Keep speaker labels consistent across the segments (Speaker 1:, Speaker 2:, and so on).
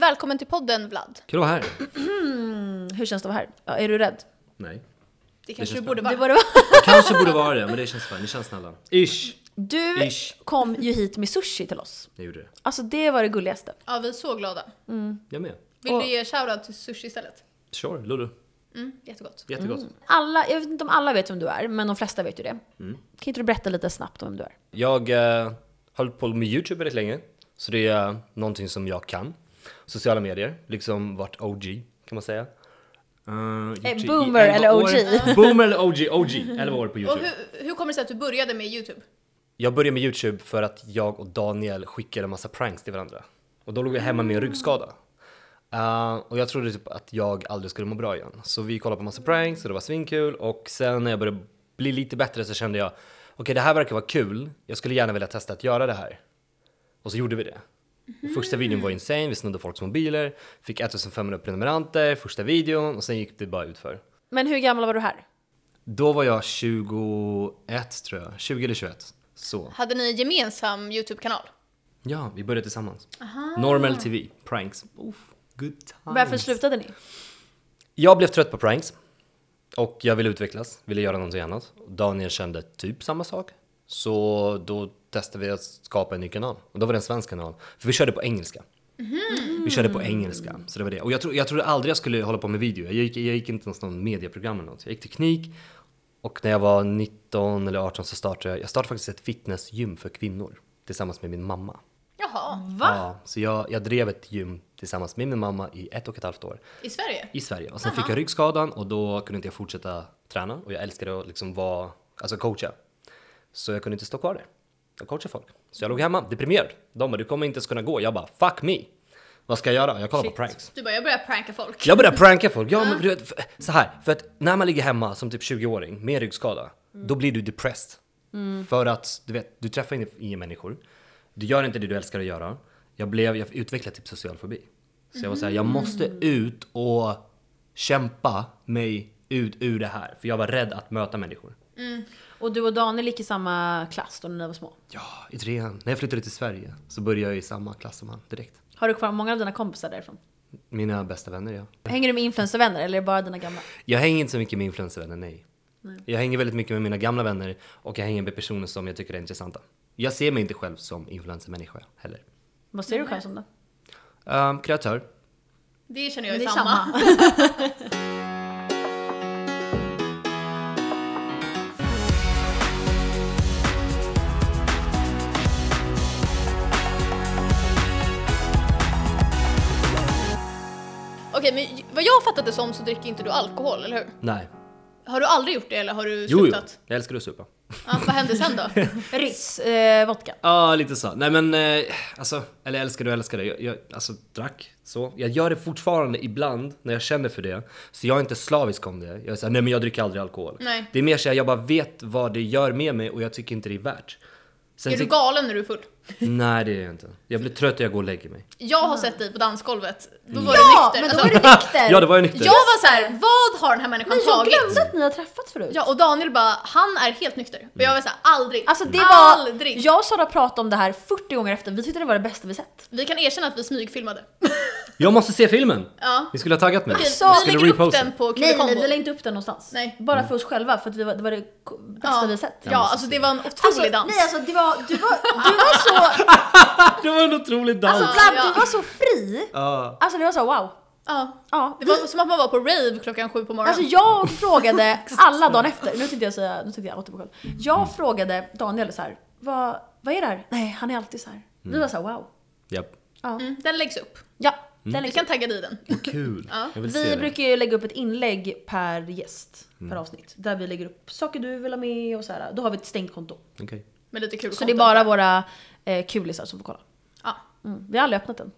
Speaker 1: Välkommen till podden Vlad.
Speaker 2: Kul att vara här.
Speaker 3: Hur känns det att vara här? Ja, är du rädd?
Speaker 2: Nej.
Speaker 1: Det kanske
Speaker 2: känns
Speaker 1: du borde vara.
Speaker 2: bra.
Speaker 1: Det borde vara.
Speaker 2: Jag kanske borde vara det, men det känns fint. Ni känns snälla. Ish.
Speaker 3: Du
Speaker 2: Ish.
Speaker 3: kom ju hit med sushi till oss.
Speaker 2: Jag gjorde det.
Speaker 3: Alltså det var det gulligaste.
Speaker 1: Ja, vi är så glada.
Speaker 2: Jag med.
Speaker 1: Vill
Speaker 3: Och-
Speaker 1: du ge shoutout till sushi istället?
Speaker 2: Sure, Lulu.
Speaker 1: Mm, jättegott.
Speaker 2: Jättegott.
Speaker 3: Alla, jag vet inte om alla vet vem du är, men de flesta vet ju det. Kan inte du berätta lite snabbt om vem du är?
Speaker 2: Jag eh, höll på med YouTube väldigt länge, så det är eh, någonting som jag kan. Sociala medier, liksom vart OG kan man säga. Eh, YouTube i
Speaker 3: boomer
Speaker 2: elva
Speaker 3: eller
Speaker 2: år.
Speaker 3: OG?
Speaker 2: Boomer eller OG, OG, 11 år på
Speaker 1: Och
Speaker 2: YouTube.
Speaker 1: hur, hur kommer det sig att du började med YouTube?
Speaker 2: Jag började med YouTube för att jag och Daniel skickade en massa pranks till varandra. Och då låg jag hemma med en ryggskada. Eh, och jag trodde typ att jag aldrig skulle må bra igen. Så vi kollade på massa pranks och det var svinkul. Och sen när jag började bli lite bättre så kände jag, okej det här verkar vara kul. Jag skulle gärna vilja testa att göra det här. Och så gjorde vi det. Och Första videon var insane, vi snodde folks mobiler, fick 1500 prenumeranter första videon och sen gick det bara utför.
Speaker 3: Men hur gammal var du här?
Speaker 2: Då var jag 21 tror jag, 20 eller 21. Så.
Speaker 1: Hade ni en gemensam YouTube-kanal?
Speaker 2: Ja, vi började tillsammans. Normal TV, pranks. Oof, good times.
Speaker 3: Varför slutade ni?
Speaker 2: Jag blev trött på pranks. Och jag ville utvecklas, ville göra någonting annat. Daniel kände typ samma sak. Så då testade vi att skapa en ny kanal. Och då var det en svensk kanal. För vi körde på engelska. Vi körde på engelska. Så det var det. Och jag, tro, jag trodde aldrig jag skulle hålla på med video. Jag gick, jag gick inte ens någon medieprogram eller något. Jag gick teknik. Och när jag var 19 eller 18 så startade jag, jag startade faktiskt ett fitnessgym för kvinnor. Tillsammans med min mamma.
Speaker 1: Jaha,
Speaker 2: Ja, så jag, jag drev ett gym tillsammans med min mamma i ett och ett halvt år
Speaker 1: i Sverige?
Speaker 2: i Sverige. Och sen fick jag ryggskadan och då kunde inte jag fortsätta träna och jag älskade att liksom vara, alltså coacha. Så jag kunde inte stå kvar där och coacha folk. Så jag låg hemma deprimerad. De bara, du kommer inte ens kunna gå. Jag bara, fuck me! Vad ska jag göra? Jag kollar på pranks.
Speaker 1: Du bara, jag börjar pranka folk.
Speaker 2: Jag började pranka folk. Ja, men du vet, för, så här, för att när man ligger hemma som typ 20-åring med ryggskada, då blir du depressed. För att du vet, du träffar inga- inga människor. Du gör inte det du älskar att göra. Jag blev, jag utvecklade typ social fobi. Så jag var såhär, jag måste ut och kämpa mig ut ur det här. För jag var rädd att möta människor.
Speaker 3: Och du och Daniel gick i samma klass då när ni var små.
Speaker 2: Ja, i trean. När jag flyttade till Sverige så började jag i samma klass som han direkt.
Speaker 3: Har du kvar många av dina kompisar därifrån?
Speaker 2: Mina bästa vänner ja.
Speaker 3: Hänger du med influencervänner eller är det bara dina gamla?
Speaker 2: Jag hänger inte så mycket med influencervänner, nej. Jag hänger väldigt mycket med mina gamla vänner och jag hänger med personer som jag tycker är intressanta. Jag ser mig inte själv som influencermänniska heller.
Speaker 3: Vad ser du själv som då?
Speaker 2: Ehm, kreatör.
Speaker 1: Det känner jag
Speaker 3: Det
Speaker 1: är
Speaker 3: är
Speaker 1: samma.
Speaker 3: samma.
Speaker 1: Okej, men vad jag fattat det som så dricker inte du alkohol, eller hur?
Speaker 2: Nej.
Speaker 1: Har du aldrig gjort det eller har du
Speaker 2: Jo, jo.
Speaker 1: slutat?
Speaker 2: Jag älskar att supa.
Speaker 1: Ja, vad hände sen då?
Speaker 3: Riss, eh, vodka.
Speaker 2: Ja, lite så. Nej men, eh, alltså, eller älskar du älskar det. Jag, jag alltså, drack så. Jag gör det fortfarande ibland när jag känner för det. Så jag är inte slavisk om det. Jag är såhär, nej men jag dricker aldrig alkohol.
Speaker 1: Nej.
Speaker 2: Det är mer såhär, jag bara vet vad det gör med mig och jag tycker inte det är värt. Sen
Speaker 1: Är du
Speaker 2: tyck-
Speaker 1: galen när du är full?
Speaker 2: Nej det är jag inte. Jag blir trött och jag går och lägger mig.
Speaker 1: Jag har sett dig på dansgolvet, då
Speaker 2: Mm.
Speaker 1: var
Speaker 3: Ja,
Speaker 1: du nykter.
Speaker 3: men då
Speaker 1: Alltså,
Speaker 3: var du nykter!
Speaker 2: Ja, det var jag nykter.
Speaker 1: jag var så här, vad har den här människan
Speaker 3: Nej, jag
Speaker 1: tagit?
Speaker 3: glömde att ni har träffats förut.
Speaker 1: Ja, och Daniel bara, han är helt nykter. Och jag var såhär, aldrig.
Speaker 3: Alltså det var...
Speaker 1: Aldrig.
Speaker 3: Jag och Sara pratade om det här 40 gånger efter, vi tyckte det var det bästa vi sett.
Speaker 1: Vi kan erkänna att vi smygfilmade.
Speaker 2: Jag måste se filmen!
Speaker 1: Ja.
Speaker 2: Ni skulle ha taggat mig.
Speaker 1: Okej,
Speaker 2: Ni
Speaker 1: vi
Speaker 2: skulle
Speaker 1: lägger upp
Speaker 2: reposta.
Speaker 1: den på
Speaker 3: Alltså, Nej, nej,
Speaker 1: Kubikombo.
Speaker 3: vi la inte upp den någonstans.
Speaker 1: Nej.
Speaker 3: Bara för oss själva, för att vi var, det var det k- bästa vi sett.
Speaker 1: Ja, alltså det var en otrolig
Speaker 3: Alltså,
Speaker 1: dans.
Speaker 3: nej alltså det var, du var, du var så,
Speaker 2: Det var en otrolig dans!
Speaker 3: alltså
Speaker 1: Ja,
Speaker 3: Vlad,
Speaker 1: ja.
Speaker 3: du var så fri.
Speaker 2: Ja.
Speaker 3: Alltså det var så wow.
Speaker 1: ja.
Speaker 3: Ja.
Speaker 1: Det var som att man var på rave klockan sju på morgonen.
Speaker 3: Alltså jag frågade alla dagen efter, nu tänkte jag säga, nu tänkte jag återpå Jag frågade Daniel så här, vad, vad är det här? Nej, han är alltid så här. Vi var så här wow.
Speaker 2: Japp.
Speaker 1: mm, den läggs upp.
Speaker 3: Ja, den
Speaker 1: Vi
Speaker 3: liksom.
Speaker 1: kan tagga dig i den.
Speaker 2: Vad kul. Jag vill se
Speaker 3: Vi
Speaker 2: det.
Speaker 3: brukar ju lägga upp ett inlägg per gäst, per avsnitt. Där vi lägger upp saker du vill ha med och så här. Då har vi ett stängt konto.
Speaker 2: Okej.
Speaker 1: Med lite kul
Speaker 3: Så det
Speaker 1: content.
Speaker 3: är bara våra eh, kulisar som får kolla.
Speaker 1: Ja,
Speaker 3: Mm. Vi har aldrig öppnat den.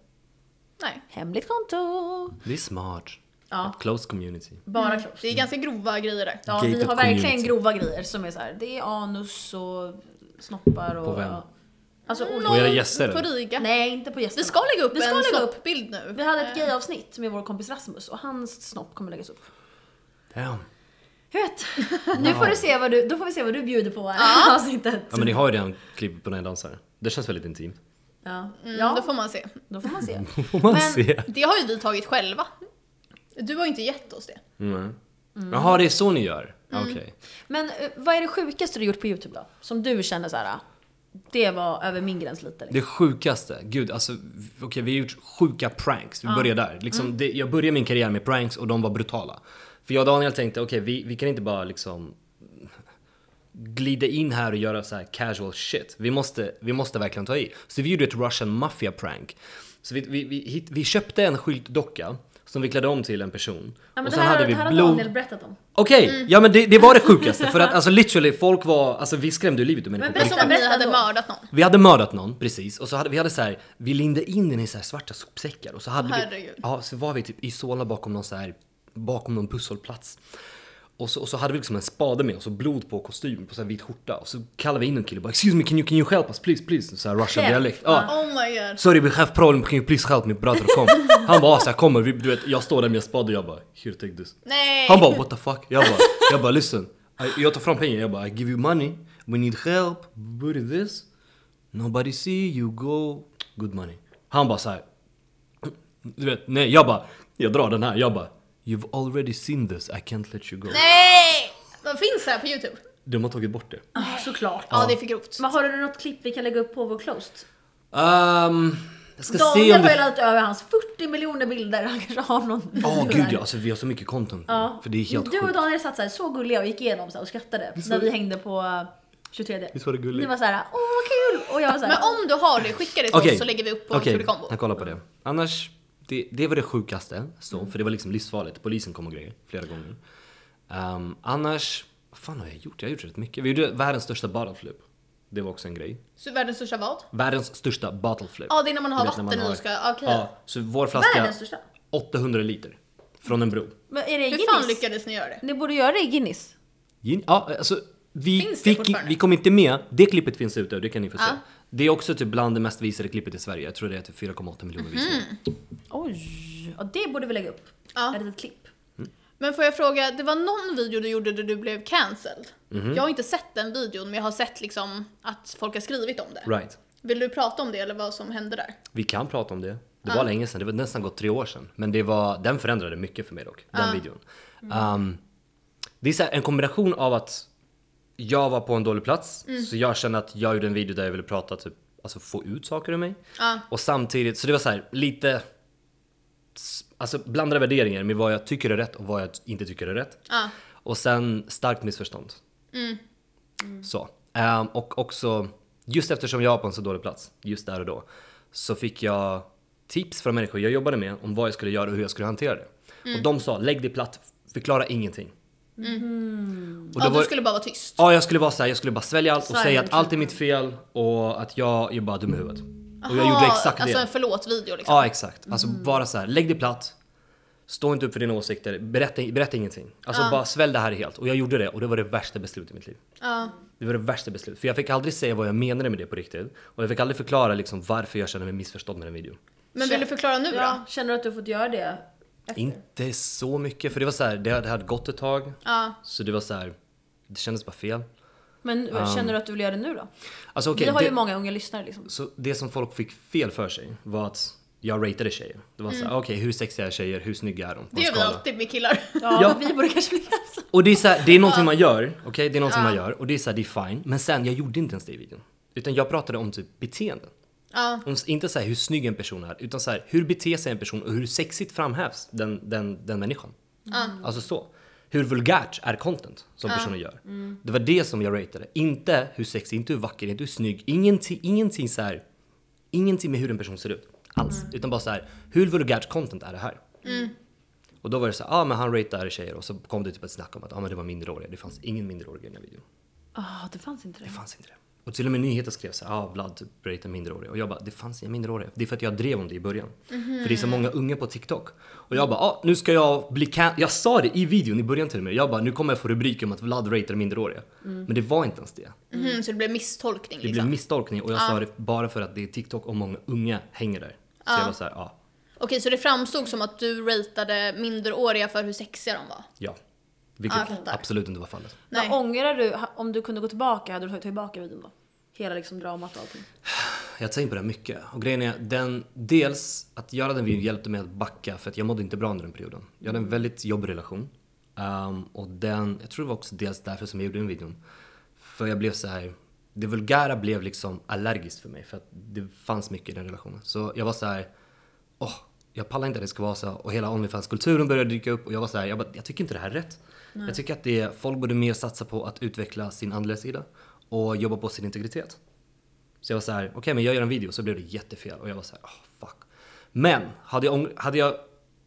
Speaker 1: nej.
Speaker 3: Hemligt konto!
Speaker 2: Det är smart.
Speaker 3: Ja.
Speaker 2: Close community.
Speaker 3: Bara mm.
Speaker 1: Det är ganska grova grejer där.
Speaker 3: Ja,
Speaker 2: Gated
Speaker 3: vi har verkligen
Speaker 2: community.
Speaker 3: grova grejer som är så här. Det är anus och snoppar och...
Speaker 2: På vem?
Speaker 3: Alltså olika.
Speaker 2: Och era gäster?
Speaker 1: På Riga.
Speaker 3: Nej, inte på gästerna.
Speaker 1: Vi ska lägga upp
Speaker 3: Vi ska
Speaker 1: en
Speaker 3: lägga upp. Eh.
Speaker 1: snoppbild nu.
Speaker 3: Vi hade ett gay-avsnitt med vår kompis Rasmus och hans snopp kommer läggas upp.
Speaker 2: Damn.
Speaker 3: Jag vet. Nu får du se vad du, då får vi se vad du bjuder på här i avsnittet.
Speaker 2: Ja men ni har ju redan klipp på när jag dansar. Det känns väldigt intimt.
Speaker 3: Ja.
Speaker 1: Mm,
Speaker 3: ja,
Speaker 1: Då får man se.
Speaker 3: då får man se.
Speaker 2: Får man
Speaker 1: Men
Speaker 2: se?
Speaker 1: det har ju vi tagit själva. Du har ju inte gett oss det.
Speaker 2: Mm. Jaha, det är så ni gör?
Speaker 1: Mm.
Speaker 2: Okej.
Speaker 3: Men eh, vad är det sjukaste du gjort på YouTube då? Som du känner så här, ah, det var över min gräns lite. Liksom.
Speaker 2: Det sjukaste, gud alltså, okej vi har gjort sjuka pranks, vi börjar där. Liksom,
Speaker 3: Mm.
Speaker 2: det, jag började min karriär med pranks och de var brutala. För jag och Daniel tänkte, okej vi, vi kan inte bara liksom glida in här och göra så här casual shit. Vi måste, vi måste verkligen ta i. Så vi gjorde ett Russian Mafia prank. Så vi, vi, vi, hit- vi köpte en skyltdocka som vi klädde om till en person.
Speaker 3: Ja, men
Speaker 2: och
Speaker 3: det
Speaker 2: sen
Speaker 3: här,
Speaker 2: hade
Speaker 3: det
Speaker 2: vi
Speaker 3: här har
Speaker 2: blod...
Speaker 3: Daniel Mm. berättat om.
Speaker 2: Okej, ja men det, det var det sjukaste. För att alltså literally, folk var, alltså vi skrämde ju livet ur människor.
Speaker 1: Det är
Speaker 3: Berätta,
Speaker 1: som om ni
Speaker 3: berätta
Speaker 1: hade
Speaker 3: då.
Speaker 1: mördat någon.
Speaker 2: Vi hade mördat någon, precis. Och så hade vi hade så här, vi lindade in den i så här svarta sopsäckar. Och så hade vi,
Speaker 1: Herregud.
Speaker 2: ja, så var vi typ i Solna bakom någon så här, bakom någon pusselplats. Och så, och så hade vi liksom en spade med oss och blod på kostymen på så här vit skjorta. Och så kallade vi in en kille och bara “Excuse me, can you, can you help us please, please?” Så här russian
Speaker 3: Help.
Speaker 2: dialekt. Ja.
Speaker 1: Oh my god.
Speaker 2: “Sorry we have problem, can you please help me brother, come?” Han bara “Ah, så här kommer vi, du vet, jag står där med en spade och jag bara “Here take this”
Speaker 1: Nej!
Speaker 2: Han bara what the fuck? Jag bara, jag bara listen. I, jag tar fram pengar, jag bara I give you money, we need help, what is this? Nobody see, you go, good money. Han bara såhär, du vet, nej jag bara, jag drar den här, jag bara You've already seen this, I can't let you go.
Speaker 1: Nej! De finns här på Youtube.
Speaker 2: De har tagit bort det.
Speaker 3: Ah, Såklart.
Speaker 1: Ja, det är för grovt.
Speaker 3: Men har du något klipp vi kan lägga upp på vår closed?
Speaker 2: Ehm, jag ska se
Speaker 3: Daniel
Speaker 2: om
Speaker 3: har
Speaker 2: det...
Speaker 3: ju laddat över hans 40 miljoner bilder, han kanske har någon.
Speaker 2: Åh
Speaker 3: där.
Speaker 2: gud ja, alltså vi har så mycket content nu,
Speaker 3: Ja.
Speaker 2: För det är helt
Speaker 3: Du och
Speaker 2: sjukt.
Speaker 3: Daniel satt så, här, så gulliga och gick igenom så här, och skrattade när vi hängde på eh, 23.
Speaker 2: Visst var det gulligt?
Speaker 3: Ni var såhär åh vad kul! Och jag var såhär
Speaker 1: Men om du har det, skicka det till
Speaker 2: Okej.
Speaker 1: oss så lägger vi upp på
Speaker 2: Okej,
Speaker 1: okay. Combo.
Speaker 2: jag kollar på det. Annars, det, det var det sjukaste. Så,
Speaker 1: Mm.
Speaker 2: För det var liksom livsfarligt. Polisen kom och grejer flera gånger. Ehm, annars, vad fan har jag gjort? Jag har gjort rätt mycket. Vi gjorde världens största bottle flip. Det var också en grej.
Speaker 1: Så världens största vad?
Speaker 2: Världens största bottle flip.
Speaker 1: Ja, det är när man har
Speaker 2: Du vet, när
Speaker 1: vatten och ska- okej.
Speaker 2: Ja, så vår flaska,
Speaker 3: Världens största?
Speaker 2: 800 liter. Från en bro.
Speaker 3: Men är det
Speaker 1: Hur
Speaker 3: i
Speaker 1: fan
Speaker 3: Guinness?
Speaker 1: lyckades ni göra det?
Speaker 3: Ni borde göra det i Guinness.
Speaker 2: Gin- Ja, alltså, vi,
Speaker 1: Finns det
Speaker 2: fick,
Speaker 1: fortfarande?
Speaker 2: vi kom inte med. Det klippet finns ute och det kan ni få se.
Speaker 1: Ja.
Speaker 2: Det är också typ bland det mest visade klippet i Sverige. Jag tror det är typ 4,8 miljoner visningar.
Speaker 3: Oj! Ja, det borde vi lägga upp.
Speaker 1: Ja.
Speaker 3: Ett litet klipp.
Speaker 1: Men får jag fråga, det var någon video du gjorde där du blev cancelled.
Speaker 2: Mhm.
Speaker 1: Jag har inte sett den videon men jag har sett liksom att folk har skrivit om det.
Speaker 2: Right.
Speaker 1: Vill du prata om det eller vad som hände där?
Speaker 2: Vi kan prata om det. Det var länge sedan, det var nästan gått tre år sedan. Men det var, den förändrade mycket för mig dock, den videon. Um, det är så här, en kombination av att jag var på en dålig plats, så jag kände att jag gjorde en video där jag ville prata, typ, alltså få ut saker ur mig.
Speaker 1: Ja.
Speaker 2: Och samtidigt, så det var så här, lite s- alltså, blandade värderingar med vad jag tycker är rätt och vad jag t- inte tycker är rätt.
Speaker 1: Ja.
Speaker 2: Och sen starkt missförstånd.
Speaker 1: Mm.
Speaker 2: Så. Ehm, och också, just eftersom jag var på en så dålig plats, just där och då, så fick jag tips från människor jag jobbade med om vad jag skulle göra och hur jag skulle hantera det.
Speaker 1: Mm.
Speaker 2: Och de sa, lägg dig platt, förklara ingenting. Och då
Speaker 1: Ja,
Speaker 2: var-
Speaker 1: du skulle bara vara tyst.
Speaker 2: Ja, jag skulle vara så här, jag skulle bara svälja allt och
Speaker 3: Silent
Speaker 2: säga att allt är
Speaker 3: treatment.
Speaker 2: mitt fel och att jag är bara dum i huvudet. Och jag
Speaker 1: Aha,
Speaker 2: gjorde exakt
Speaker 1: Alltså
Speaker 2: det.
Speaker 1: en förlåt-video liksom.
Speaker 2: Ja, exakt. Alltså bara så här, lägg dig platt. Stå inte upp för dina åsikter. Berätta, berätta ingenting. Alltså bara svälj det här helt. Och jag gjorde det och det var det värsta beslutet i mitt liv.
Speaker 1: Ja.
Speaker 2: Det var det värsta beslutet. För jag fick aldrig säga vad jag menade med det på riktigt. Och jag fick aldrig förklara liksom varför jag kände mig missförstådd med den videon.
Speaker 1: Men vill du förklara nu
Speaker 3: Ja,
Speaker 1: då?
Speaker 3: känner du att du har fått göra det?
Speaker 2: Inte så mycket, för det var så här, det hade, det hade gått ett tag.
Speaker 1: Ja.
Speaker 2: Så det var så här, det kändes bara fel.
Speaker 3: Men känner du att du vill göra det nu då?
Speaker 2: Alltså okej,
Speaker 3: vi har
Speaker 2: det-
Speaker 3: ju många unga lyssnare liksom.
Speaker 2: Så det som folk fick fel för sig var att jag ratade tjejer. Det var så såhär, okej hur sexiga är tjejer, hur snygga är de? På
Speaker 1: Det
Speaker 2: en
Speaker 1: gör vi
Speaker 2: skala.
Speaker 1: alltid med killar.
Speaker 3: Ja,
Speaker 2: Ja.
Speaker 3: men vi borde kanske bli ensamma.
Speaker 2: Och det är, så här, det är någonting man gör, okej? Det är någonting man gör och det är så här, det är fine. Men sen, jag gjorde inte ens det i videon. Utan jag pratade om typ beteenden.
Speaker 1: Ja.
Speaker 2: Om, inte så här hur snygg en person är, utan så här, hur beter sig en person och hur sexigt framhävs den, den, den människan. Alltså så. Hur vulgärt är content som personen gör? Det var det som jag ratade. Inte hur sexig, inte hur vacker, inte hur snygg. Ingenting, ingenting så här. Ingenting med hur en person ser ut. Alls. Utan bara så här, hur vulgärt content är det här? Och då var det så här, ah, men han ratear tjejer och så kom det typ ett snack om att ah, men det var minderåriga. Det fanns ingen minderårig i den här videon.
Speaker 3: Ah, det fanns inte det.
Speaker 2: Det fanns inte det. Och till och med nyheter skrev så här, ah, Vlad typ ratear minderåriga. Och jag bara, det fanns inga minderåriga. Det är för att jag drev om det i början. För det är
Speaker 1: Mhm.
Speaker 2: så många unga på TikTok. Och jag bara, ah, nu ska jag bli can-. Jag sa det i videon i början till och med. Jag bara, nu kommer jag få rubriker om att Vlad ratear minderåriga.
Speaker 1: Mm.
Speaker 2: Men det var inte ens det.
Speaker 3: Mm.
Speaker 1: Mhm, så det blev misstolkning
Speaker 2: Det
Speaker 1: liksom.
Speaker 2: blev misstolkning och jag sa det bara för att det är TikTok och många unga hänger där. Så jag var så här, ah,
Speaker 1: Okej, så det framstod som att du ratade minderåriga för hur sexiga de var?
Speaker 2: ja. Vilket
Speaker 1: Ja, jag fattar.
Speaker 2: absolut inte var fallet.
Speaker 1: Nej.
Speaker 3: Men ångrar du, ha- om du kunde gå tillbaka, hade du tagit tillbaka videon då? Hela liksom dramat och allting.
Speaker 2: Jag tänker på det här mycket. Och grejen är den, dels att göra den videon hjälpte mig att backa för att jag mådde inte bra under den perioden. Jag hade en väldigt jobbig relation. Ehm, och den, jag tror det var också dels därför som jag gjorde den videon. För jag blev så här, det vulgära blev liksom allergiskt för mig för att det fanns mycket i den relationen. Så jag var så här, åh, jag pallar inte att det ska vara så. Och hela Onlyfans-kulturen började dyka upp och jag var så här, jag, bara, jag tycker inte det här är rätt. Jag tycker att det är, folk borde mer satsa på att utveckla sin andliga sida och jobba på sin integritet. Så jag var så här, okej men jag gör en video, så blev det jättefel och jag var så här, oh, fuck. Men, hade jag, ång- hade jag,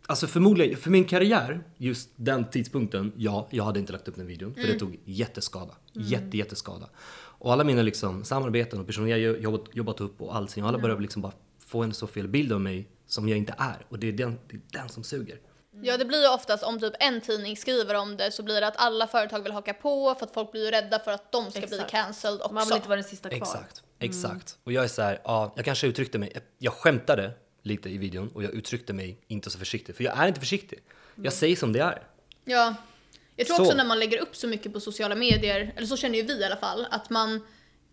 Speaker 2: alltså förmodligen, för min karriär, just den tidpunkten, ja, jag hade inte lagt upp den videon, för det tog jätteskada. Jätte, jätteskada. Och alla mina liksom, samarbeten och personer jag jobbat, jobbat upp och allting, alla började liksom bara få en så fel bild av mig som jag inte är. Och det är den, det är den som suger.
Speaker 1: Mm. Ja, det blir ju oftast om typ en tidning skriver om det så blir det att alla företag vill haka på för att folk blir ju rädda för att de ska bli
Speaker 3: Exakt.
Speaker 1: cancelled också.
Speaker 3: Man vill inte vara den sista kvar.
Speaker 2: Exakt, exakt. Och jag är så här, ja, jag kanske uttryckte mig, jag skämtade lite i videon och jag uttryckte mig inte så försiktigt, för jag är inte försiktig. Jag säger som det är.
Speaker 1: Ja. Jag tror
Speaker 2: Så.
Speaker 1: också när man lägger upp så mycket på sociala medier, eller så känner ju vi i alla fall, att man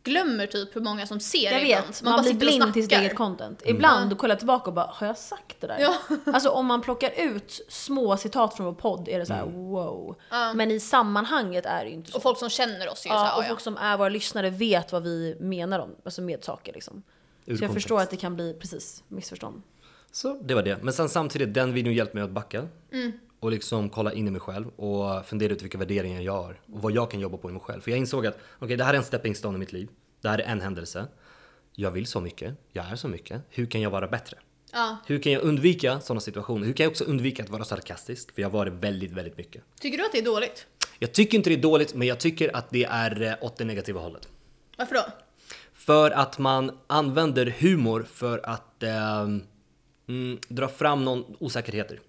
Speaker 1: glömmer typ hur många som ser
Speaker 3: Jag
Speaker 1: ibland.
Speaker 3: vet, man, blir
Speaker 1: sitter och
Speaker 3: blind till sitt
Speaker 1: snackar.
Speaker 3: eget content.
Speaker 2: Mm.
Speaker 3: Ibland kollar jag tillbaka och bara, har jag sagt det där?
Speaker 1: Ja.
Speaker 3: Alltså om man plockar ut små citat från vår podd är det så här:
Speaker 2: Mm.
Speaker 3: wow. Men i sammanhanget är det ju inte så.
Speaker 1: Och folk som känner oss är ju
Speaker 3: ja,
Speaker 1: såhär,
Speaker 3: och
Speaker 1: ja,
Speaker 3: folk som är våra lyssnare vet vad vi menar om, alltså med saker liksom. Så
Speaker 2: Ur
Speaker 3: jag
Speaker 2: kontext.
Speaker 3: förstår att det kan bli, precis, missförstånd.
Speaker 2: Så det var det. Men sen samtidigt, den videon hjälpte mig att backa. Och liksom kolla in i mig själv och fundera ut vilka värderingar jag har och vad jag kan jobba på i mig själv. För jag insåg att okej, det här är en stepping stone i mitt liv. Det här är en händelse. Jag vill så mycket, jag är så mycket. Hur kan jag vara bättre?
Speaker 1: ja.
Speaker 2: Hur kan jag undvika sådana situationer? Hur kan jag också undvika att vara sarkastisk? För jag har varit väldigt, väldigt mycket.
Speaker 1: Tycker du att det är dåligt?
Speaker 2: Jag tycker inte det är dåligt, men jag tycker att det är eh, åt det negativa hållet.
Speaker 1: Varför då?
Speaker 2: För att man använder humor för att eh, mm, dra fram någon osäkerheter.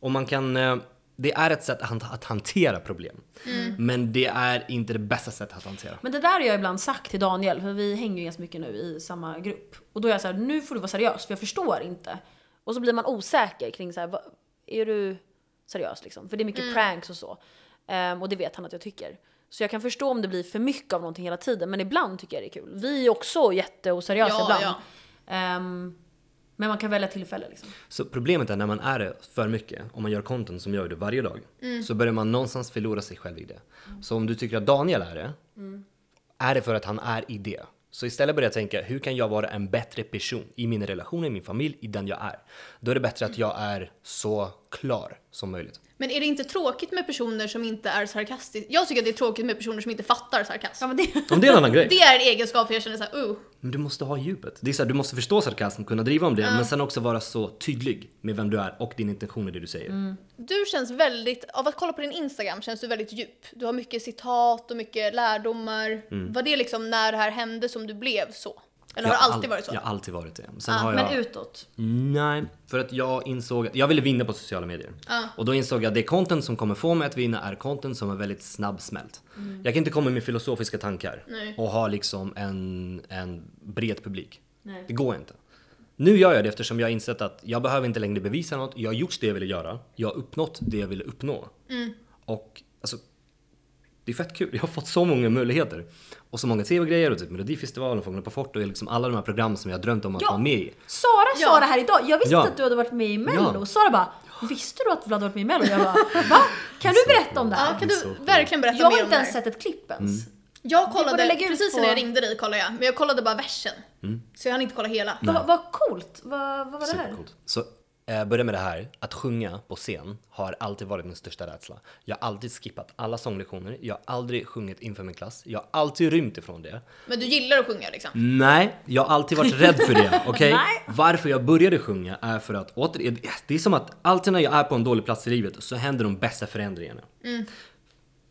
Speaker 2: Och man kan... Eh, det är ett sätt att, han- att hantera problem. Men det är inte det bästa sättet att hantera.
Speaker 3: Men det där har jag ibland sagt till Daniel, för vi hänger ju ganska mycket nu i samma grupp. Och då är jag så här, nu får du vara seriös för jag förstår inte. Och så blir man osäker kring så här, "Va- är du seriös liksom? För det är mycket pranks och så. Ehm, och det vet han att jag tycker. Så jag kan förstå om det blir för mycket av någonting hela tiden, men ibland tycker jag det är kul. Vi är också jätteoseriösa
Speaker 1: Ja,
Speaker 3: ibland.
Speaker 1: ja.
Speaker 3: Ehm, men man kan välja tillfälle liksom.
Speaker 2: Så problemet är när man är det för mycket, om man gör content som gör det varje dag,
Speaker 1: Mm.
Speaker 2: så börjar man någonstans förlora sig själv i det. Så om du tycker att Daniel är det,
Speaker 1: Mm.
Speaker 2: är det för att han är i det. Så istället börjar jag tänka, hur kan jag vara en bättre person i min relation, i min familj, i den jag är? Då är det bättre att jag är så klar som möjligt.
Speaker 1: Men är det inte tråkigt med personer som inte är sarkastiska? Jag tycker att det är tråkigt med personer som inte fattar sarkasm.
Speaker 3: Ja, men det...
Speaker 2: Om det är en annan grej.
Speaker 1: Det är en egenskap jag känner såhär, uh.
Speaker 2: Men du måste ha djupet. Det är så här, du måste förstå sarkasm, kunna driva om det, men sen också vara så tydlig med vem du är och din intention i det du säger.
Speaker 1: Mm. Du känns väldigt, av att kolla på din Instagram känns du väldigt djup. Du har mycket citat och mycket lärdomar.
Speaker 2: Mm.
Speaker 1: Var det liksom när det här hände som du blev så? Eller har
Speaker 2: Jag
Speaker 1: det alltid varit så?
Speaker 2: Jag har alltid varit det. Sen har jag...
Speaker 3: Men utåt.
Speaker 2: Nej, för att jag insåg att jag ville vinna på sociala medier. Och då insåg jag att det content som kommer få mig att vinna är content som är väldigt snabbsmält. Jag kan inte komma med filosofiska tankar
Speaker 1: Nej.
Speaker 2: och ha liksom en, en bred publik. Det går inte. Nu gör jag det eftersom jag har insett att jag behöver inte längre bevisa något. Jag har gjort det jag ville göra. Jag har uppnått det jag ville uppnå. Och alltså, det är fett kul. Jag har fått så många möjligheter. Och så många tv-grejer och typ Melodifestivalen och Fångarna på fortet och liksom alla de här programmen som jag har drömt om att
Speaker 3: Ja.
Speaker 2: vara med i.
Speaker 3: Sara
Speaker 1: Ja.
Speaker 3: sa det här idag, jag visste
Speaker 2: Ja.
Speaker 3: inte att du hade varit med i mello.
Speaker 2: Ja.
Speaker 3: Sara bara, visste du att Vlad har varit med i mello? Jag bara, va? Kan du berätta om det här?
Speaker 1: Ja, kan
Speaker 2: Det är
Speaker 1: du
Speaker 2: så sjukt.
Speaker 1: verkligen berätta
Speaker 3: Jag
Speaker 1: mer
Speaker 3: har
Speaker 1: om
Speaker 3: inte
Speaker 1: det här?
Speaker 3: ens sett ett klipp ens.
Speaker 2: Mm.
Speaker 1: Jag
Speaker 3: borde
Speaker 1: kollade,
Speaker 3: lägga ut
Speaker 1: precis
Speaker 3: på-
Speaker 1: när jag ringde dig kollade jag, men jag kollade bara versen.
Speaker 2: Mm.
Speaker 1: Så jag hann inte kolla hela.
Speaker 3: Va- Vad coolt, Va- vad var det här?
Speaker 2: Supercoolt. Så eh, börja med det här, att sjunga på scen har alltid varit min största rädsla. Jag har alltid skippat alla sånglektioner, jag har aldrig sjungit inför min klass, jag har alltid rymt ifrån det.
Speaker 1: Men du gillar att sjunga liksom?
Speaker 2: Nej, jag har alltid varit rädd för det, okej?
Speaker 3: Nej.
Speaker 2: Varför jag började sjunga är för att återigen, det är som att alltid när jag är på en dålig plats i livet så händer de bästa förändringarna.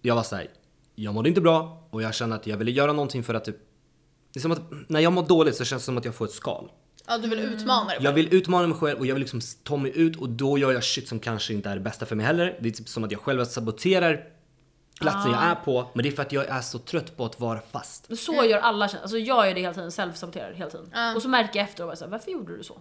Speaker 2: Jag var såhär, jag mådde inte bra och jag kände att jag ville göra någonting för att typ, det är som att när jag mår dåligt så känns det som att jag får ett skal.
Speaker 1: Ja, du vill
Speaker 3: Mm.
Speaker 1: utmana dig
Speaker 2: Jag
Speaker 1: själv.
Speaker 2: vill utmana mig själv och jag vill liksom ta mig ut och då gör jag shit som kanske inte är det bästa för mig heller. Det är typ som att jag själv saboterar platsen
Speaker 3: Ah.
Speaker 2: jag är på, men det är för att jag är så trött på att vara fast.
Speaker 3: Men Så gör alla, kän- alltså jag gör det hela tiden, self-saboterar hela tiden. Och så märker jag efter och bara så här, varför gjorde du så?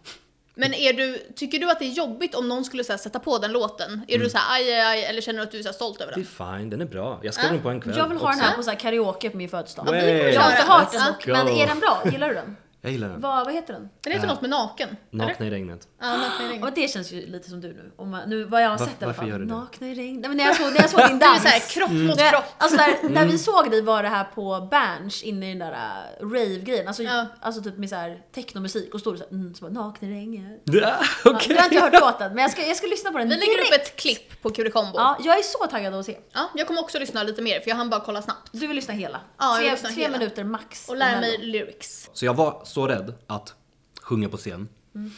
Speaker 1: Men är du, tycker du att det är jobbigt om någon skulle så här, sätta på den låten? Är du så här, aj, aj, aj, eller känner du att du är så här, stolt över
Speaker 2: Mm. Det är
Speaker 1: den?
Speaker 2: fine, den är bra. Jag skrev den på en kväll.
Speaker 3: Ah, Jag vill ha den
Speaker 2: också.
Speaker 3: här på så här karaoke på min födelsedag.
Speaker 2: Way.
Speaker 3: Jag har inte
Speaker 1: Ja,
Speaker 3: hört den,
Speaker 1: ja.
Speaker 3: dock, men är den bra? Gillar du den?
Speaker 2: Jag gillar den.
Speaker 3: Vad, vad heter den?
Speaker 1: Den heter
Speaker 2: Ja.
Speaker 1: typ något med naken. eller?
Speaker 2: Nakna i regnet.
Speaker 1: Ja, nakna i
Speaker 3: Ja,
Speaker 1: ringen.
Speaker 3: men det känns ju lite som du nu. Om man, nu vad jag har
Speaker 2: Varför-
Speaker 3: sett i alla
Speaker 2: varför
Speaker 3: fall.
Speaker 2: gör du det?
Speaker 3: Nakna i regn. Nej, men när jag såg, när jag såg din
Speaker 1: Det är
Speaker 3: dans.
Speaker 1: så här kropp mot
Speaker 3: När-
Speaker 1: kropp. Mm.
Speaker 3: Alltså där, när vi såg dig var det här på Berns inne i den där äh, rave-grejen. Alltså,
Speaker 1: Ja.
Speaker 3: alltså typ med så här technomusik och stod såhär mm, så bara, nakna i regnet. Ja,
Speaker 2: Okej!
Speaker 3: Du har inte hört låten men jag ska, jag ska lyssna på den
Speaker 1: Vi lägger
Speaker 3: direkt.
Speaker 1: upp ett klipp på Kurikombo. Ja.
Speaker 3: Ja, jag är så taggad att se.
Speaker 1: jag kommer också lyssna lite mer för jag hann bara kolla snabbt.
Speaker 3: Du vill lyssna hela?
Speaker 1: Ja, jag vill
Speaker 3: tre
Speaker 1: lyssna
Speaker 3: tre
Speaker 1: hela.
Speaker 3: minuter max.
Speaker 1: Och lära mig
Speaker 3: emellan.
Speaker 1: lyrics.
Speaker 2: Så jag var så rädd att sjunga på scen.
Speaker 3: Mm.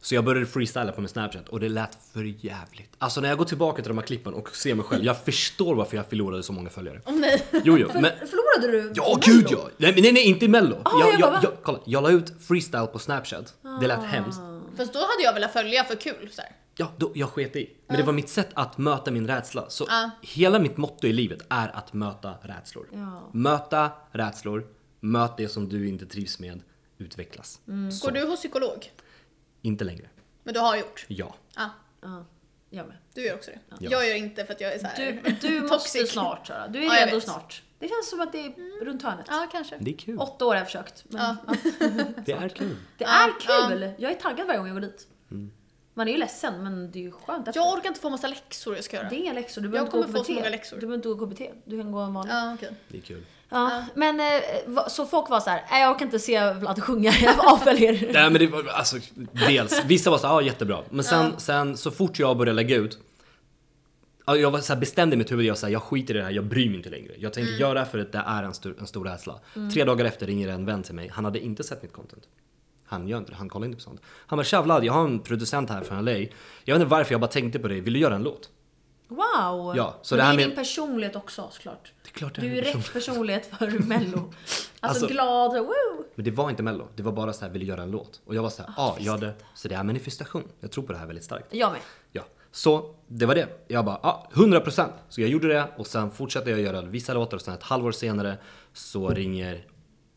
Speaker 2: Så jag började freestyla på min snapchat och det lät för jävligt. Alltså när jag går tillbaka till de här klippen och ser mig själv, jag förstår varför jag förlorade så många följare.
Speaker 1: Åh nej.
Speaker 2: Jo, jo, men...
Speaker 3: Förlorade du?
Speaker 2: Ja, gud ja! Nej, men nej, nej, inte i mello. jag,
Speaker 3: Ah, jag
Speaker 2: jag,
Speaker 3: bara, va? Ah.
Speaker 2: jag, kolla, jag la ut freestyle på snapchat, det lät hemskt.
Speaker 1: Fast då hade jag velat följa för kul. Så här.
Speaker 2: Ja, då, jag sket i. Men det
Speaker 3: Ah.
Speaker 2: var mitt sätt att möta min rädsla. Så
Speaker 1: Ja.
Speaker 2: hela mitt motto i livet är att möta rädslor.
Speaker 3: Ja.
Speaker 2: Möta rädslor, möt det som du inte trivs med, utvecklas.
Speaker 3: Mm.
Speaker 1: Går du hos psykolog?
Speaker 2: Inte längre.
Speaker 1: Men du har gjort?
Speaker 2: Ja.
Speaker 1: Ja,
Speaker 3: Ja, jag med.
Speaker 1: du gör också det.
Speaker 2: Ja.
Speaker 1: Jag gör inte för att jag är så här
Speaker 3: Du, du måste
Speaker 1: toxic.
Speaker 3: snart Sara. Du är
Speaker 1: Ja, jag
Speaker 3: redo
Speaker 1: vet. Mm.
Speaker 3: snart. Det känns som att det är runt hörnet.
Speaker 1: Ja, kanske.
Speaker 2: Det är kul.
Speaker 3: Åtta år har jag försökt. Men
Speaker 1: Ja.
Speaker 2: Det är kul.
Speaker 3: Det
Speaker 1: Ja,
Speaker 3: är kul! Jag är taggad varje gång jag går dit. Man är ju ledsen men det är ju skönt efter.
Speaker 1: Jag orkar inte få massa läxor jag ska göra.
Speaker 3: det är inga läxor. Du
Speaker 1: Jag
Speaker 3: behöver inte
Speaker 1: kommer
Speaker 3: gå
Speaker 1: få så många
Speaker 3: KBT.
Speaker 1: läxor.
Speaker 3: Du behöver inte gå KBT. Du kan gå en vanlig. Ja.
Speaker 1: Ja, okej.
Speaker 2: Det är kul.
Speaker 3: Men eh, va- så folk var så här, "Nej, jag orkar inte se Vlad sjunga, jag avföljer.
Speaker 2: Nej men det var, alltså, dels, vissa var så ja ah, jättebra. Men sen, sen så fort jag började lägga ut, ja, jag var så här bestämd i mitt huvud, jag, så här, jag skiter i det här, jag bryr mig inte längre. Jag tänker
Speaker 3: Mm.
Speaker 2: göra det här för att det är en stor, en stor rädsla. Tre dagar efter ringer en vän till mig, han hade inte sett mitt content. Han gör inte det, han kollar inte på sånt. Han bara “Tja Vlad, jag har en producent här från LA. Jag vet inte varför jag bara tänkte på dig, vill du göra en låt?”
Speaker 3: Wow!
Speaker 2: Ja, så
Speaker 3: men
Speaker 2: det
Speaker 3: det,
Speaker 2: här
Speaker 3: är
Speaker 2: med-
Speaker 3: din personlighet också såklart.
Speaker 2: Det är klart det
Speaker 3: Du är ju
Speaker 2: en person.
Speaker 3: rätt personlighet för mello. Alltså,
Speaker 2: Alltså-
Speaker 3: glad, woo!
Speaker 2: Men det var inte mello, det var bara så här “vill du göra en låt?” Och jag var så här, ah, jag hade... Så det är manifestation. Jag tror på det här väldigt starkt.
Speaker 3: Jag med.
Speaker 2: Ja, så det var det. Jag bara, ja, 100%. Så jag gjorde det och sen fortsatte jag göra vissa låtar och sen ett halvår senare så ringer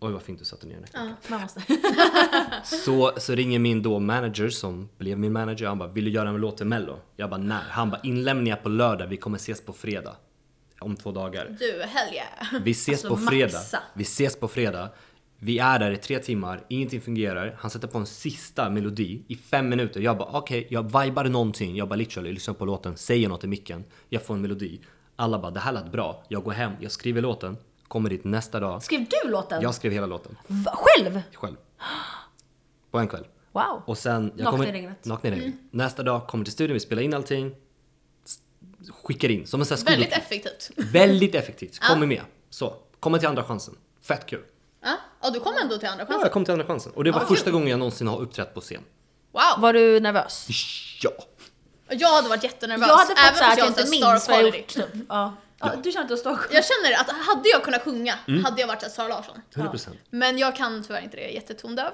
Speaker 2: Oj vad fint du satte ner den. här.
Speaker 3: Man måste.
Speaker 2: Så, så ringer min då manager som blev min manager han bara “Vill du göra en låt till mello?” Jag bara “Nej”. Han bara “Inlämningar på lördag, vi kommer ses på fredag”. Om två dagar.
Speaker 1: Du, hell yeah.
Speaker 2: Vi ses
Speaker 3: Alltså,
Speaker 2: på fredag.
Speaker 3: maxa.
Speaker 2: Vi ses på fredag. Vi är där i tre timmar, ingenting fungerar. Han sätter på en sista melodi i fem minuter. Jag bara okej, jag vibade någonting. Jag bara literally lyssnar på låten, säger något i micken. Jag får en melodi. Alla bara det här lät bra. Jag går hem, jag skriver låten, kommer dit nästa dag.
Speaker 3: Skrev du låten?
Speaker 2: Jag skrev hela låten
Speaker 3: Va- Själv?
Speaker 2: själv. På en kväll.
Speaker 3: Wow!
Speaker 2: Och sen...
Speaker 3: Nakna i regnet. Mm.
Speaker 2: Nakna i regnet. Nästa dag, kommer till studion, vi spelar in allting. s- Skickar in, som en sån här
Speaker 1: Väldigt
Speaker 3: Mm.
Speaker 2: skoluppgift.
Speaker 1: effektivt.
Speaker 2: Väldigt effektivt. Kommer med. Så, kommer till andra chansen. Fett kul.
Speaker 1: Ja, ja du kom ändå till andra
Speaker 2: Ja,
Speaker 1: chansen.
Speaker 2: jag kom till andra chansen. Och det var första gången jag någonsin har uppträtt på scen.
Speaker 1: Wow!
Speaker 3: Var du nervös?
Speaker 2: Ja!
Speaker 1: Jag hade varit jättenervös.
Speaker 3: Jag hade fått
Speaker 1: även
Speaker 3: såhär
Speaker 1: fast
Speaker 3: att jag
Speaker 1: inte är
Speaker 3: inte minns
Speaker 1: star
Speaker 3: vad jag
Speaker 1: quality.
Speaker 3: gjort. Typ. Ja. Ja. Du känner att du har star
Speaker 2: Typ.
Speaker 1: Jag känner att hade jag kunnat sjunga
Speaker 2: Mm.
Speaker 1: hade jag varit så här Sara Larsson.
Speaker 2: 100%.
Speaker 1: Men jag kan tyvärr inte det, jag är jättetondöv.
Speaker 3: Ja.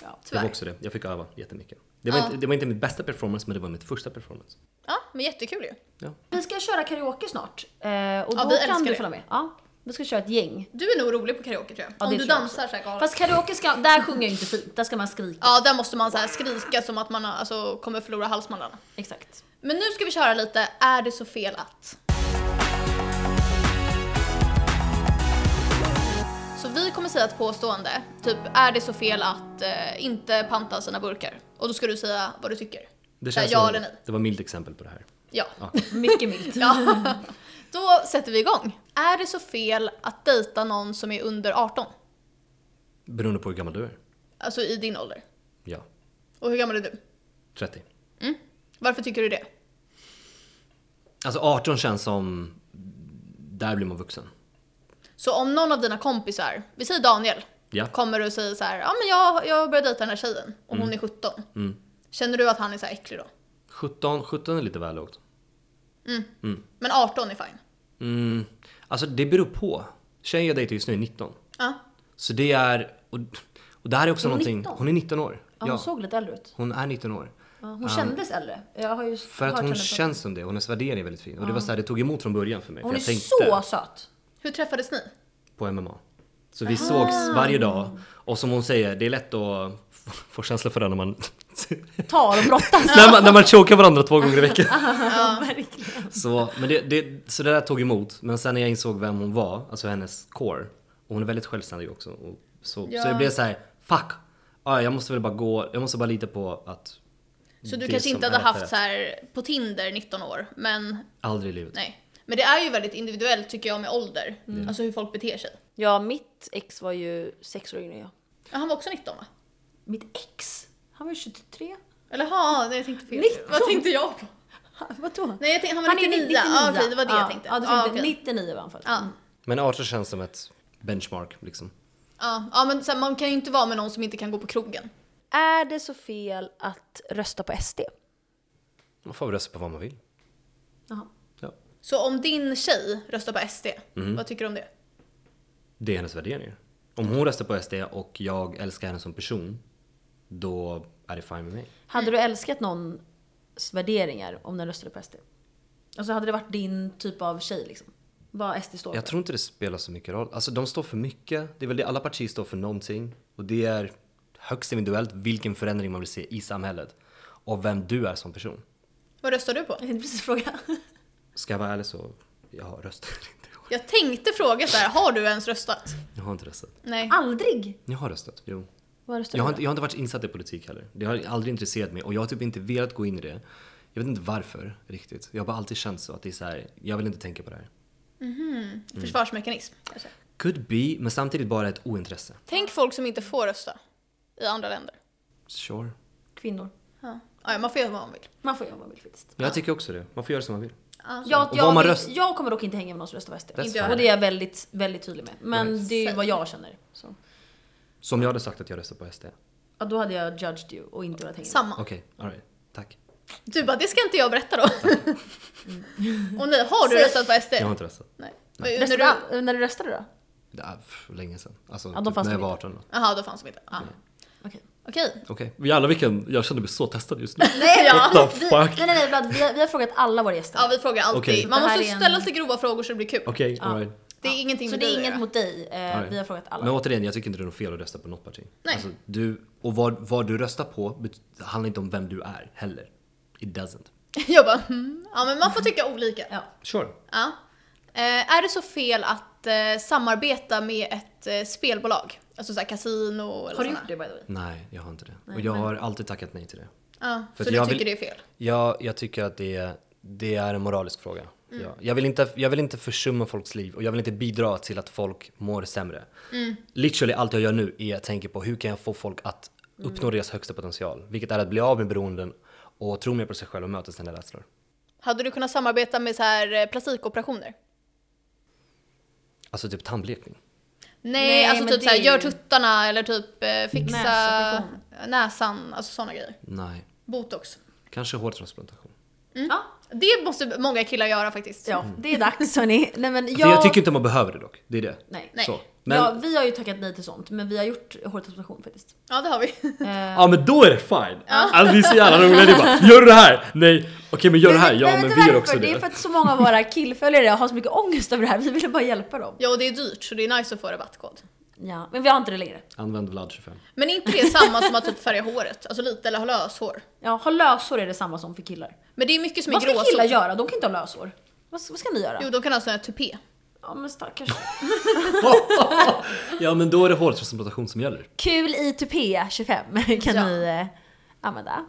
Speaker 2: Det var
Speaker 1: Tyvärr.
Speaker 2: Typ också det. Jag fick öva jättemycket. Det var, inte, det var inte min bästa performance, men det var min första performance.
Speaker 1: Ja, men jättekul ju.
Speaker 2: Ja.
Speaker 3: Vi ska köra karaoke snart. Eh, och
Speaker 1: Ja,
Speaker 3: då
Speaker 1: vi
Speaker 3: kan
Speaker 1: älskar
Speaker 3: du
Speaker 1: det.
Speaker 3: följa med. Ja. Vi ska köra ett gäng.
Speaker 1: Du är nog rolig på karaoke tror jag.
Speaker 3: Ja,
Speaker 1: Om
Speaker 3: det
Speaker 1: du
Speaker 3: tror jag
Speaker 1: dansar så här galet.
Speaker 3: Fast karaoke ska, där sjunger jag inte fint. Där ska man skrika.
Speaker 1: Ja, där måste man så här skrika som att man har- alltså, kommer förlora halsmandlarna.
Speaker 3: Exakt.
Speaker 1: Men nu ska vi köra lite Är det så fel att? Så vi kommer säga ett påstående, typ är det så fel att eh, inte panta sina burkar? Och då ska du säga vad du tycker.
Speaker 2: Det,
Speaker 1: Så här,
Speaker 2: känns
Speaker 1: ja
Speaker 2: som-
Speaker 1: eller nej.
Speaker 2: det var milt exempel på det här.
Speaker 1: Ja.
Speaker 3: Mycket milt.
Speaker 1: ja. Då sätter vi igång. Är det så fel att dejta någon som är under 18?
Speaker 2: Beroende på hur gammal du är.
Speaker 1: Alltså i din ålder.
Speaker 2: Ja.
Speaker 1: Och hur gammal är du?
Speaker 2: 30.
Speaker 1: Varför tycker du det?
Speaker 2: Alltså 18 känns som... Där blir man vuxen.
Speaker 1: Så om någon av dina kompisar, vi säger Daniel,
Speaker 2: Ja.
Speaker 1: kommer och säger så här, ja men jag, jag börjar dejta den här tjejen och
Speaker 2: Mm.
Speaker 1: hon är 17. Känner du att han är så här äcklig då?
Speaker 2: 17, 17 är lite väl lågt.
Speaker 1: Men 18 är fine.
Speaker 2: Mm. Alltså det beror på. Tjejen jag dejtar just nu är 19.
Speaker 1: Ja.
Speaker 2: Så det är... Och, och det här är också
Speaker 3: Är hon
Speaker 2: någonting...
Speaker 3: 19?
Speaker 2: Hon är 19 år.
Speaker 3: Ja, hon såg lite äldre ut.
Speaker 2: hon är 19 år.
Speaker 3: Ja, hon kändes äldre. Jag har ju
Speaker 2: För
Speaker 3: hört
Speaker 2: att hon
Speaker 3: henne prata.
Speaker 2: känns som det, och hennes värdering är väldigt fin. Och det var så här, det tog emot från början för mig.
Speaker 3: Hon
Speaker 2: för
Speaker 3: är
Speaker 2: jag tänkte
Speaker 3: så söt.
Speaker 1: Hur träffades ni?
Speaker 2: på MMA. Så vi
Speaker 3: Ah.
Speaker 2: sågs varje dag. Och som hon säger, det är lätt att få- få känsla för det när man,
Speaker 3: Tar och brottas.
Speaker 2: när man, när man chokar varandra två gånger i veckan.
Speaker 3: ja, verkligen.
Speaker 2: Så, men det, det, så det där tog emot. Men sen när jag insåg vem hon var, alltså hennes core. Och hon är väldigt självständig också. Och så,
Speaker 1: Ja.
Speaker 2: så det blev så här, fuck! Ah, jag måste väl bara gå, jag måste bara lita på att...
Speaker 1: Så du
Speaker 2: Mm, det
Speaker 1: kanske
Speaker 2: som
Speaker 1: inte hade
Speaker 2: är
Speaker 1: haft
Speaker 2: rätt.
Speaker 1: så här på Tinder 19 år, men
Speaker 2: Aldrig i livet.
Speaker 1: nej. Men det är ju väldigt individuellt tycker jag med ålder,
Speaker 2: Mm.
Speaker 1: alltså hur folk beter sig.
Speaker 3: Ja, mitt ex var ju sex år yngre än jag.
Speaker 1: Ja, han var också 19 va?
Speaker 3: Mitt ex? Han var ju 23.
Speaker 1: Eller ha, nej jag tänkte fel.
Speaker 3: 19?
Speaker 1: Vad tänkte jag på?
Speaker 3: Han- Vadå?
Speaker 1: Nej jag tänkte, han var 99. Ja, okej, det var det
Speaker 3: ja,
Speaker 1: jag tänkte.
Speaker 3: Ja, du
Speaker 1: Ja,
Speaker 3: tänkte
Speaker 1: okej. Ah,
Speaker 3: 99 var han född.
Speaker 1: Ja.
Speaker 3: Mm.
Speaker 2: Men 18 känns som ett benchmark liksom.
Speaker 1: Ja, ja ah, men så här, man kan ju inte vara med någon som inte kan gå på krogen.
Speaker 3: Är det så fel att rösta på SD?
Speaker 2: Man får väl rösta på vad man vill.
Speaker 3: Jaha.
Speaker 2: Ja.
Speaker 1: Så om din tjej röstar på SD, vad tycker du om det?
Speaker 2: Det är hennes värderingar. Om hon röstar på SD och jag älskar henne som person, då är det fine med mig.
Speaker 3: Hade du älskat någons värderingar om den röstade på SD? Alltså hade det varit din typ av tjej liksom? Vad SD står för?
Speaker 2: Jag tror inte det spelar så mycket roll. Alltså de står för mycket. Det är väl det, alla partier står för någonting. Och det är högst individuellt vilken förändring man vill se i samhället. Och vem du är som person.
Speaker 1: Vad röstar du på?
Speaker 3: Jag tänkte precis fråga.
Speaker 2: Ska jag vara ärlig så, jag har röstat inte. i år.
Speaker 1: Jag tänkte fråga så här, har du ens röstat?
Speaker 2: Jag har inte röstat.
Speaker 1: Nej.
Speaker 3: Aldrig!
Speaker 2: Jag har röstat, jo.
Speaker 3: Vad röstade
Speaker 2: Jag har,
Speaker 3: du
Speaker 2: inte, jag har inte varit insatt i politik heller. Det har aldrig intresserat mig och jag har typ inte velat gå in i det. Jag vet inte varför riktigt. Jag har bara alltid känt så att det är så här, jag vill inte tänka på det här.
Speaker 1: Försvarsmekanism kanske.
Speaker 2: Could be, men samtidigt bara ett ointresse.
Speaker 1: Tänk folk som inte får rösta i andra länder.
Speaker 2: Sure.
Speaker 3: då? Kvinnor.
Speaker 1: Ja, ja man får göra vad man vill.
Speaker 3: Man får göra vad man vill faktiskt.
Speaker 2: Jag tycker också det. Man får göra som man vill.
Speaker 3: Jag,
Speaker 2: Och
Speaker 3: jag,
Speaker 2: vad man
Speaker 3: vill-
Speaker 2: röst-
Speaker 3: jag kommer dock inte hänga med någon som röstar på SD.
Speaker 2: That's
Speaker 1: Inte jag
Speaker 2: fine.
Speaker 3: Och det är jag väldigt, väldigt tydlig med. Men
Speaker 2: Right.
Speaker 3: det är ju vad jag känner. Så.
Speaker 2: Som jag hade sagt att jag röstar på SD.
Speaker 3: Ja, då hade jag judged you och inte velat hänga med.
Speaker 1: Samma.
Speaker 2: Okej, alright. Tack.
Speaker 3: Eh.
Speaker 1: Du bara, det ska inte jag berätta då. Och nej, har du
Speaker 3: Säg.
Speaker 1: röstat på SD?
Speaker 2: Jag har inte röstat.
Speaker 1: Nej. När
Speaker 3: Röstade,
Speaker 1: du...
Speaker 3: du... När du röstade då?
Speaker 2: Det är för länge sedan. Alltså,
Speaker 3: de
Speaker 2: typ
Speaker 3: fanns
Speaker 2: när jag
Speaker 3: väl
Speaker 2: var
Speaker 3: inte.
Speaker 2: 18.
Speaker 1: Jaha, då fanns de inte. Ja.
Speaker 3: Okej.
Speaker 1: Okej.
Speaker 2: Okej. Jävlar vilken, jag känner mig så testad just nu.
Speaker 3: Nej,
Speaker 1: Ja.
Speaker 2: What the
Speaker 3: vi,
Speaker 2: fuck?
Speaker 3: nej, nej, nej, Vlad, vi, har, vi har frågat alla våra gäster.
Speaker 1: Ja, vi frågar alltid.
Speaker 2: Okej.
Speaker 1: Man
Speaker 3: Det här
Speaker 1: måste
Speaker 3: är en-
Speaker 1: ställa lite grova frågor så det blir kul.
Speaker 2: Okej, alright.
Speaker 1: Det är ingenting
Speaker 3: så
Speaker 1: med
Speaker 3: det
Speaker 1: dig att
Speaker 3: är inget
Speaker 1: göra.
Speaker 3: mot dig. Eh,
Speaker 2: Alright.
Speaker 3: Vi har frågat alla.
Speaker 2: Men återigen, jag tycker inte det är något fel att rösta på något parti.
Speaker 1: Nej.
Speaker 2: Alltså, du, och vad, vad du röstar på bet- handlar inte om vem du är heller. It doesn't.
Speaker 1: Jag bara, hmm. Ja, men man får tycka olika.
Speaker 3: Ja.
Speaker 2: Sure.
Speaker 1: Ja. Eh, är det så fel att eh, samarbeta med ett eh, spelbolag? Alltså såhär kasino eller
Speaker 3: Har
Speaker 1: såna.
Speaker 3: du gjort det by the way?
Speaker 2: Nej, jag har inte det. och jag har alltid tackat nej till det.
Speaker 1: Ja,
Speaker 2: För
Speaker 1: så
Speaker 2: att
Speaker 1: du
Speaker 2: jag
Speaker 1: tycker
Speaker 2: vill-
Speaker 1: det är fel?
Speaker 2: Jag, jag tycker att det, det är en moralisk fråga.
Speaker 3: Mm.
Speaker 2: Ja. Jag, vill inte, jag vill inte försumma folks liv och jag vill inte bidra till att folk mår sämre.
Speaker 3: Mm.
Speaker 2: Literally allt jag gör nu är att tänka på hur kan jag få folk att
Speaker 3: Mm.
Speaker 2: uppnå deras högsta potential? Vilket är att bli av med beroenden och tro mer på sig själv och möta sina rädslor.
Speaker 1: Hade du kunnat samarbeta med så här eh, plastikoperationer?
Speaker 2: Alltså typ tandblekning.
Speaker 1: Nej,
Speaker 3: Nej,
Speaker 1: alltså
Speaker 3: men
Speaker 1: typ
Speaker 3: det
Speaker 1: såhär,
Speaker 3: är
Speaker 1: gör
Speaker 3: ju-
Speaker 1: tuttarna eller typ eh, fixa
Speaker 3: Näsoperation.
Speaker 1: näsan, alltså såna grejer.
Speaker 2: Nej.
Speaker 1: Botox.
Speaker 2: Kanske hårtransplantation.
Speaker 3: Ja.
Speaker 1: Det måste många killar göra faktiskt.
Speaker 3: ja, det är dags hörni. Nej, men jag...
Speaker 2: För Mm. Alltså, jag tycker inte man behöver det dock. Det är det.
Speaker 3: Nej.
Speaker 1: Nej.
Speaker 2: Så. Men,
Speaker 3: Ja,
Speaker 2: ja.
Speaker 3: vi har ju tackat nej till sånt, men vi har gjort hårtransplantation faktiskt.
Speaker 1: Ja, det har vi.
Speaker 3: Eh,
Speaker 2: men då är det fine. Alltså det är så jävla roligt. Det är bara, gör du det här? Nej. Okej men gör det här.
Speaker 3: men-
Speaker 2: Ja
Speaker 3: nej,
Speaker 2: men
Speaker 3: vet
Speaker 2: vi
Speaker 3: du
Speaker 2: gör
Speaker 3: varför?
Speaker 2: också
Speaker 3: Det är för
Speaker 2: det.
Speaker 3: att så många av våra killföljare har så mycket ångest över det här. Vi ville bara hjälpa dem.
Speaker 1: Ja, och det är dyrt så det är nice att få rabattkod.
Speaker 3: Ja, men vi har inte det längre.
Speaker 2: Använd Vlad 25.
Speaker 1: Men är inte det samma som att typ färga håret? Alltså lite, eller ha löshår?
Speaker 3: Ja, ha lösår är detsamma som för killar.
Speaker 1: Men det är mycket som är
Speaker 3: Vad ska
Speaker 1: gråzon.
Speaker 3: killar göra? De kan inte ha lösår. Vad, vad ska ni göra?
Speaker 1: Jo, de kan ha sån här tupé.
Speaker 3: Ja men stackars.
Speaker 2: Ja men då är det hårtransplantation som gäller.
Speaker 3: Kul i tupé 25 kan
Speaker 1: Ja.
Speaker 3: ni eh, använda.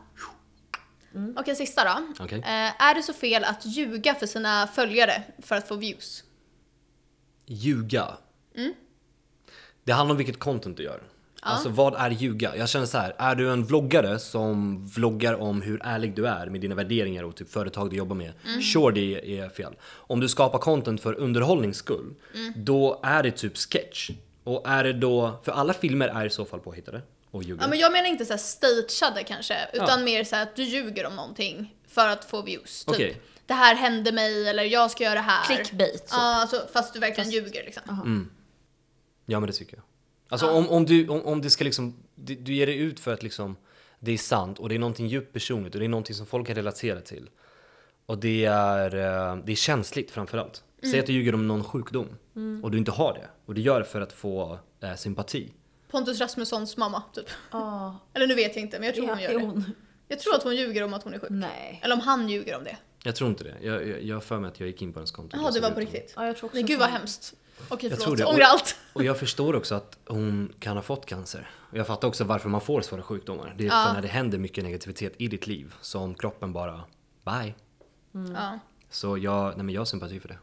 Speaker 3: Mm.
Speaker 1: Okej, sista då.
Speaker 2: Okej.
Speaker 1: Eh, är det så fel att ljuga för sina följare för att få views?
Speaker 2: Ljuga. Det handlar om vilket content du gör. Alltså vad är ljuga? Jag känner så här, är du en vloggare som vloggar om hur ärlig du är med dina värderingar och typ företag du jobbar med, sure det är fel. Om du skapar content för underhållnings skull, då är det typ sketch. Och är det då, för alla filmer är i så fall påhittade och ljuga.
Speaker 1: Ja, men jag menar inte så här stageade kanske, utan mer så här att du ljuger om någonting för att få views. Typ,
Speaker 2: Okej.
Speaker 1: det här hände mig eller jag ska göra det här.
Speaker 3: Clickbait, typ.
Speaker 1: Ja, alltså, fast du verkligen ljuger liksom.
Speaker 2: Ja men det tycker jag. Alltså om, om, du, om, om det ska liksom, du, du ger dig ut för att liksom det är sant och det är någonting djupt personligt och det är någonting som folk kan relatera till. Och det är, eh, det är känsligt framförallt.
Speaker 1: Mm.
Speaker 2: Säg att du ljuger om någon sjukdom och du inte har det och du gör det för att få eh, sympati.
Speaker 1: Pontus Rasmussons mamma, typ.
Speaker 3: Ja,
Speaker 1: Eller nu vet jag inte, men jag tror
Speaker 3: ja,
Speaker 1: hon gör
Speaker 3: är
Speaker 1: det.
Speaker 3: hon?
Speaker 1: Jag tror att hon ljuger om att hon är sjuk.
Speaker 3: Nej.
Speaker 1: Eller om han ljuger om det.
Speaker 2: Jag tror inte det. Jag, jag, jag har för mig att jag gick in på hennes konto.
Speaker 1: Jaha, det
Speaker 2: och såg
Speaker 1: var
Speaker 2: ut
Speaker 1: på
Speaker 2: om-
Speaker 1: riktigt.
Speaker 3: Ja, jag Alltså, tror också
Speaker 1: Men gud
Speaker 3: att
Speaker 1: vad
Speaker 3: hon-
Speaker 1: hemskt. Okej
Speaker 2: Jag tror
Speaker 1: förlåt,
Speaker 2: det.
Speaker 1: ångra allt.
Speaker 2: Och jag förstår också att hon kan ha fått cancer. Och jag fattar också varför man får svåra sjukdomar. Det är
Speaker 1: Ja.
Speaker 2: för när det händer mycket negativitet i ditt liv som kroppen bara, bye.
Speaker 3: Mm.
Speaker 1: Ja.
Speaker 2: Så jag, nej men jag har sympati för det.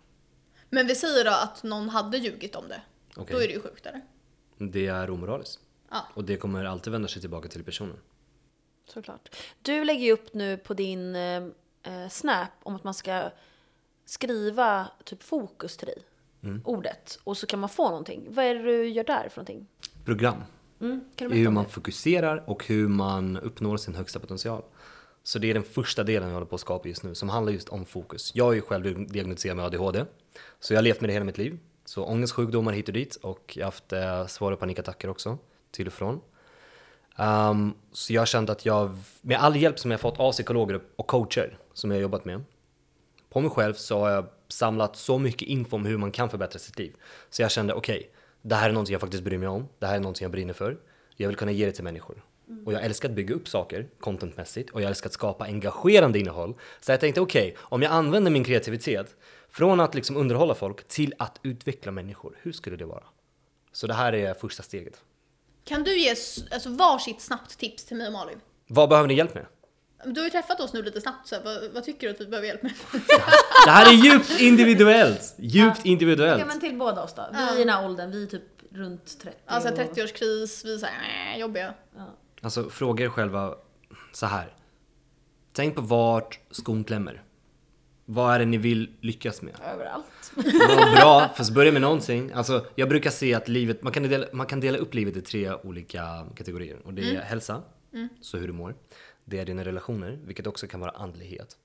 Speaker 1: Men vi säger då att någon hade ljugit om det.
Speaker 2: Okej.
Speaker 1: Då är det ju sjukt eller?
Speaker 2: Det är omoraliskt.
Speaker 1: Ja.
Speaker 2: Och det kommer alltid vända sig tillbaka till personen.
Speaker 3: Såklart. Du lägger ju upp nu på din eh, eh, Snap om att man ska skriva typ fokus till dig. Ordet. Och så kan man få någonting. Vad är det du gör där för någonting?
Speaker 2: Program.
Speaker 3: Mm, kan
Speaker 2: I
Speaker 3: du berätta
Speaker 2: hur
Speaker 3: om
Speaker 2: man
Speaker 3: det?
Speaker 2: fokuserar och hur man uppnår sin högsta potential. Så det är den första delen jag håller på att skapa just nu som handlar just om fokus. Jag är ju själv diagnostiserad med ADHD. Så jag har levt med det hela mitt liv. Så ångestsjukdomar hit och dit och jag har haft eh, svåra panikattacker också till och från. Ehm, så jag har känt att jag, med all hjälp som jag fått av psykologer och coacher som jag har jobbat med, på mig själv så har jag samlat så mycket info om hur man kan förbättra sitt liv. Så jag kände okej, det här är någonting jag faktiskt bryr mig om. Det här är någonting jag brinner för. Jag vill kunna ge det till människor.
Speaker 3: Mm.
Speaker 2: Och jag älskar att bygga upp saker contentmässigt och jag älskar att skapa engagerande innehåll. Så jag tänkte okej, om jag använder min kreativitet från att liksom underhålla folk till att utveckla människor, hur skulle det vara? Så det här är första steget.
Speaker 1: Kan du ge s- alltså, varsitt snabbt tips till mig och Malin?
Speaker 2: Vad behöver ni hjälp med?
Speaker 1: Du har ju träffat oss nu lite snabbt så här, vad, vad tycker du att vi behöver hjälp med?
Speaker 2: Det här är djupt individuellt! Djupt individuellt!
Speaker 3: Ja men till båda oss då. Vi är i den här åldern, vi är typ runt 30.
Speaker 1: Alltså
Speaker 3: och-
Speaker 1: 30-årskris, vi är såhär jobbiga.
Speaker 2: Alltså fråga er själva så här. Tänk på vart skon klämmer. Vad är det ni vill lyckas med?
Speaker 3: Överallt.
Speaker 2: Vad bra, fast börja med någonting. Alltså, jag brukar se att livet, man kan, dela, man kan dela upp livet i tre olika kategorier. Och det är hälsa, så hur du mår. Det är dina relationer, vilket också kan vara andlighet.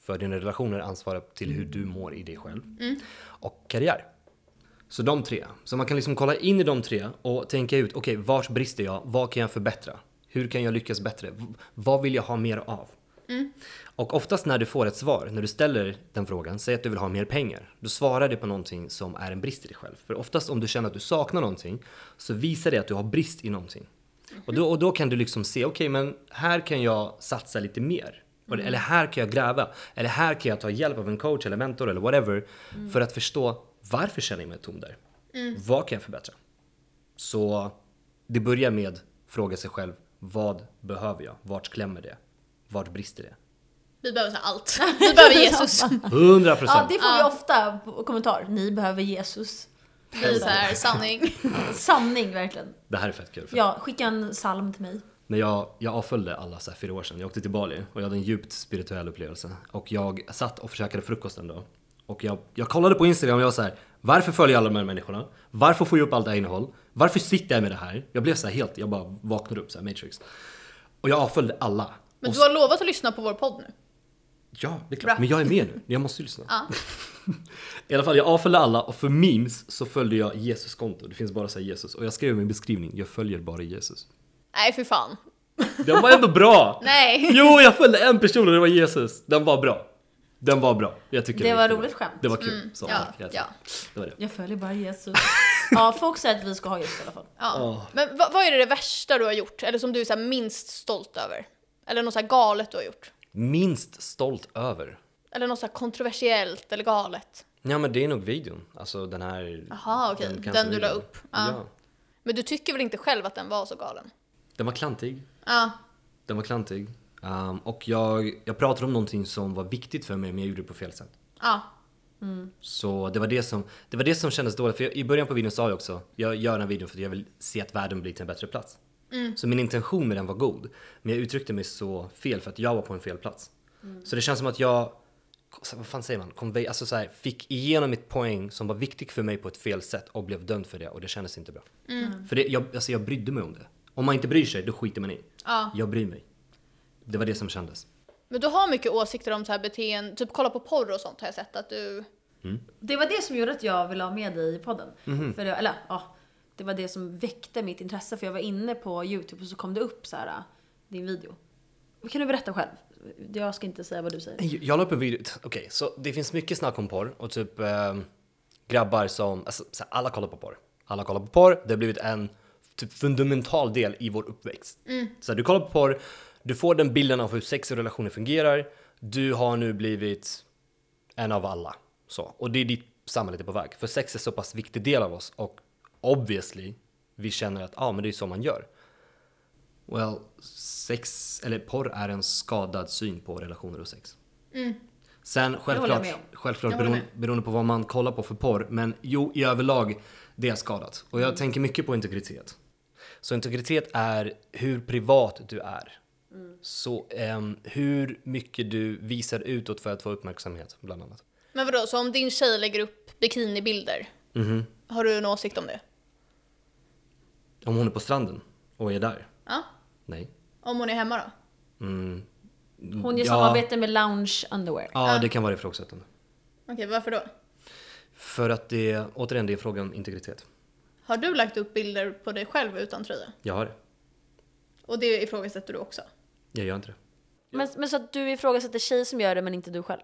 Speaker 2: För dina relationer ansvarar till hur du mår i dig själv. Och karriär. Så de tre. Så man kan liksom kolla in i de tre och tänka ut, okej, vart brister jag? Vad kan jag förbättra? Hur kan jag lyckas bättre? V- vad vill jag ha mer av? Och oftast när du får ett svar, när du ställer den frågan, säg att du vill ha mer pengar. Då svarar det på någonting som är en brist i dig själv. För oftast om du känner att du saknar någonting så visar det att du har brist i någonting. Och, då, och då kan du liksom se, okej men här kan jag satsa lite mer. Och- Eller här kan jag gräva. Eller här kan jag ta hjälp av en coach eller mentor eller whatever. För att förstå varför känner jag mig tom där? Vad kan jag förbättra? Så det börjar med fråga sig själv, vad behöver jag? Vart klämmer det? Vart brister det?
Speaker 1: Vi behöver så här allt. Vi behöver Jesus.
Speaker 2: 100
Speaker 3: Ja
Speaker 2: procent.
Speaker 3: det får vi ofta på kommentar. Ni behöver Jesus.
Speaker 1: Vi är såhär sanning.
Speaker 3: Sanning verkligen.
Speaker 2: Det här är fett kul. För
Speaker 3: Ja, skicka en psalm till mig.
Speaker 2: När jag, jag avföljde alla så här fyra år sedan. Jag åkte till Bali och jag hade en djupt spirituell upplevelse. Och jag satt och käkade frukost en dag. Och jag, jag kollade på Instagram och jag var så här. Varför följer jag alla de här människorna? Varför får jag upp allt det här innehåll? Varför sitter jag med det här? Jag blev så här helt, jag bara vaknade upp så här matrix. Och jag avföljde alla.
Speaker 1: Men
Speaker 2: och
Speaker 1: du har lovat att lyssna på vår podd nu.
Speaker 2: Ja, det är klart.
Speaker 1: Bra.
Speaker 2: Men jag är med nu. Jag måste ju lyssna.
Speaker 1: Ja.
Speaker 2: I alla fall, jag avföljde alla och för memes så följde jag Jesus konto. Det finns bara så här Jesus. Och jag skrev i min beskrivning, jag följer bara Jesus.
Speaker 1: Nej för fan.
Speaker 2: Den var ändå bra!
Speaker 1: Nej.
Speaker 2: Jo, jag följde en person och det var Jesus. Den var bra. Den var bra. Jag tycker
Speaker 3: Det
Speaker 2: den
Speaker 3: var
Speaker 2: jättebra.
Speaker 3: roligt skämt.
Speaker 2: Det var kul. Så,
Speaker 1: Mm. ja,
Speaker 2: tack. Jag tackar. Det var det.
Speaker 3: Jag följer bara Jesus. ja, folk säger att vi ska ha Jesus i alla fall.
Speaker 1: Ja.
Speaker 2: Åh.
Speaker 1: Men vad, vad är det värsta du har gjort? Eller som du är så här minst stolt över? Eller något så här galet du har gjort?
Speaker 2: Minst stolt över.
Speaker 1: Eller något så här kontroversiellt eller galet?
Speaker 2: Ja men det är nog videon. Alltså den här...
Speaker 1: Jaha okej, den, du la
Speaker 2: cancervideon.
Speaker 1: upp. Ja.
Speaker 2: Ja.
Speaker 1: Men du tycker väl inte själv att den var så galen?
Speaker 2: Den var klantig.
Speaker 1: Ja.
Speaker 2: Den var klantig. Ehm, och jag, jag pratade om någonting som var viktigt för mig men jag gjorde det på fel sätt.
Speaker 1: Ja.
Speaker 2: Så det var det som, det var det som kändes dåligt. För jag, i början på videon sa jag också, jag gör den här videon för att jag vill se att världen blir till en bättre plats. Så min intention med den var god. Men jag uttryckte mig så fel för att jag var på en fel plats. Så det känns som att jag, så- vad fan säger man, Convey, alltså så här, fick igenom mitt poäng som var viktig för mig på ett fel sätt och blev dömd för det och det kändes inte bra. För det, jag, alltså jag brydde mig om det. Om man inte bryr sig, då skiter man i.
Speaker 1: Ja.
Speaker 2: Jag bryr mig. Det var det som kändes.
Speaker 1: Men du har mycket åsikter om så här beteende, typ kolla på porr och sånt har jag sett att du...
Speaker 3: Det var det som gjorde att jag ville ha med dig i podden. För det, eller, ja, det var det som väckte mitt intresse för jag var inne på YouTube och så kom det upp så här äh, din video. Kan du berätta själv? Jag ska inte säga vad du säger.
Speaker 2: Nej, Jag la upp en video, okej, så det finns mycket snack om porr och typ eh, grabbar som, alltså, så här, alla kollar på porr. Alla kollar på porr, det har blivit en typ fundamental del i vår uppväxt. Så här, du kollar på porr, du får den bilden av hur sex och relationer fungerar, du har nu blivit en av alla. Så. Och det är ditt samhället är på väg. För sex är så pass viktig del av oss och obviously, vi känner att ah, men det är så man gör. Well, sex, eller porr är en skadad syn på relationer och sex. Sen
Speaker 3: Mm. håller jag
Speaker 2: självklart,
Speaker 3: med om.
Speaker 2: självklart
Speaker 1: Jag håller
Speaker 2: beroende,
Speaker 1: med.
Speaker 2: beroende på vad man kollar på för porr, men jo, i överlag, det är skadat. Och jag
Speaker 3: Mm.
Speaker 2: tänker mycket på integritet. Så integritet är hur privat du är.
Speaker 3: Mm.
Speaker 2: Så ehm, hur mycket du visar utåt för att få uppmärksamhet, bland annat.
Speaker 1: Men vadå, så om din tjej lägger upp bikinibilder, har du en åsikt om det?
Speaker 2: Om hon är på stranden och är där?
Speaker 1: Ja.
Speaker 2: Nej.
Speaker 1: Om hon är hemma då?
Speaker 2: Mm.
Speaker 3: Hon gör
Speaker 2: Ja.
Speaker 3: samarbete med Lounge Underwear.
Speaker 2: Ja, det kan vara ifrågasättande.
Speaker 1: Okej, varför då?
Speaker 2: För att det, återigen, det är en fråga om integritet.
Speaker 1: Har du lagt upp bilder på dig själv utan tröja?
Speaker 2: Jag har det.
Speaker 1: Och det ifrågasätter du också?
Speaker 2: Jag gör inte det.
Speaker 3: Men, men så att du ifrågasätter tjejer som gör det men inte du själv?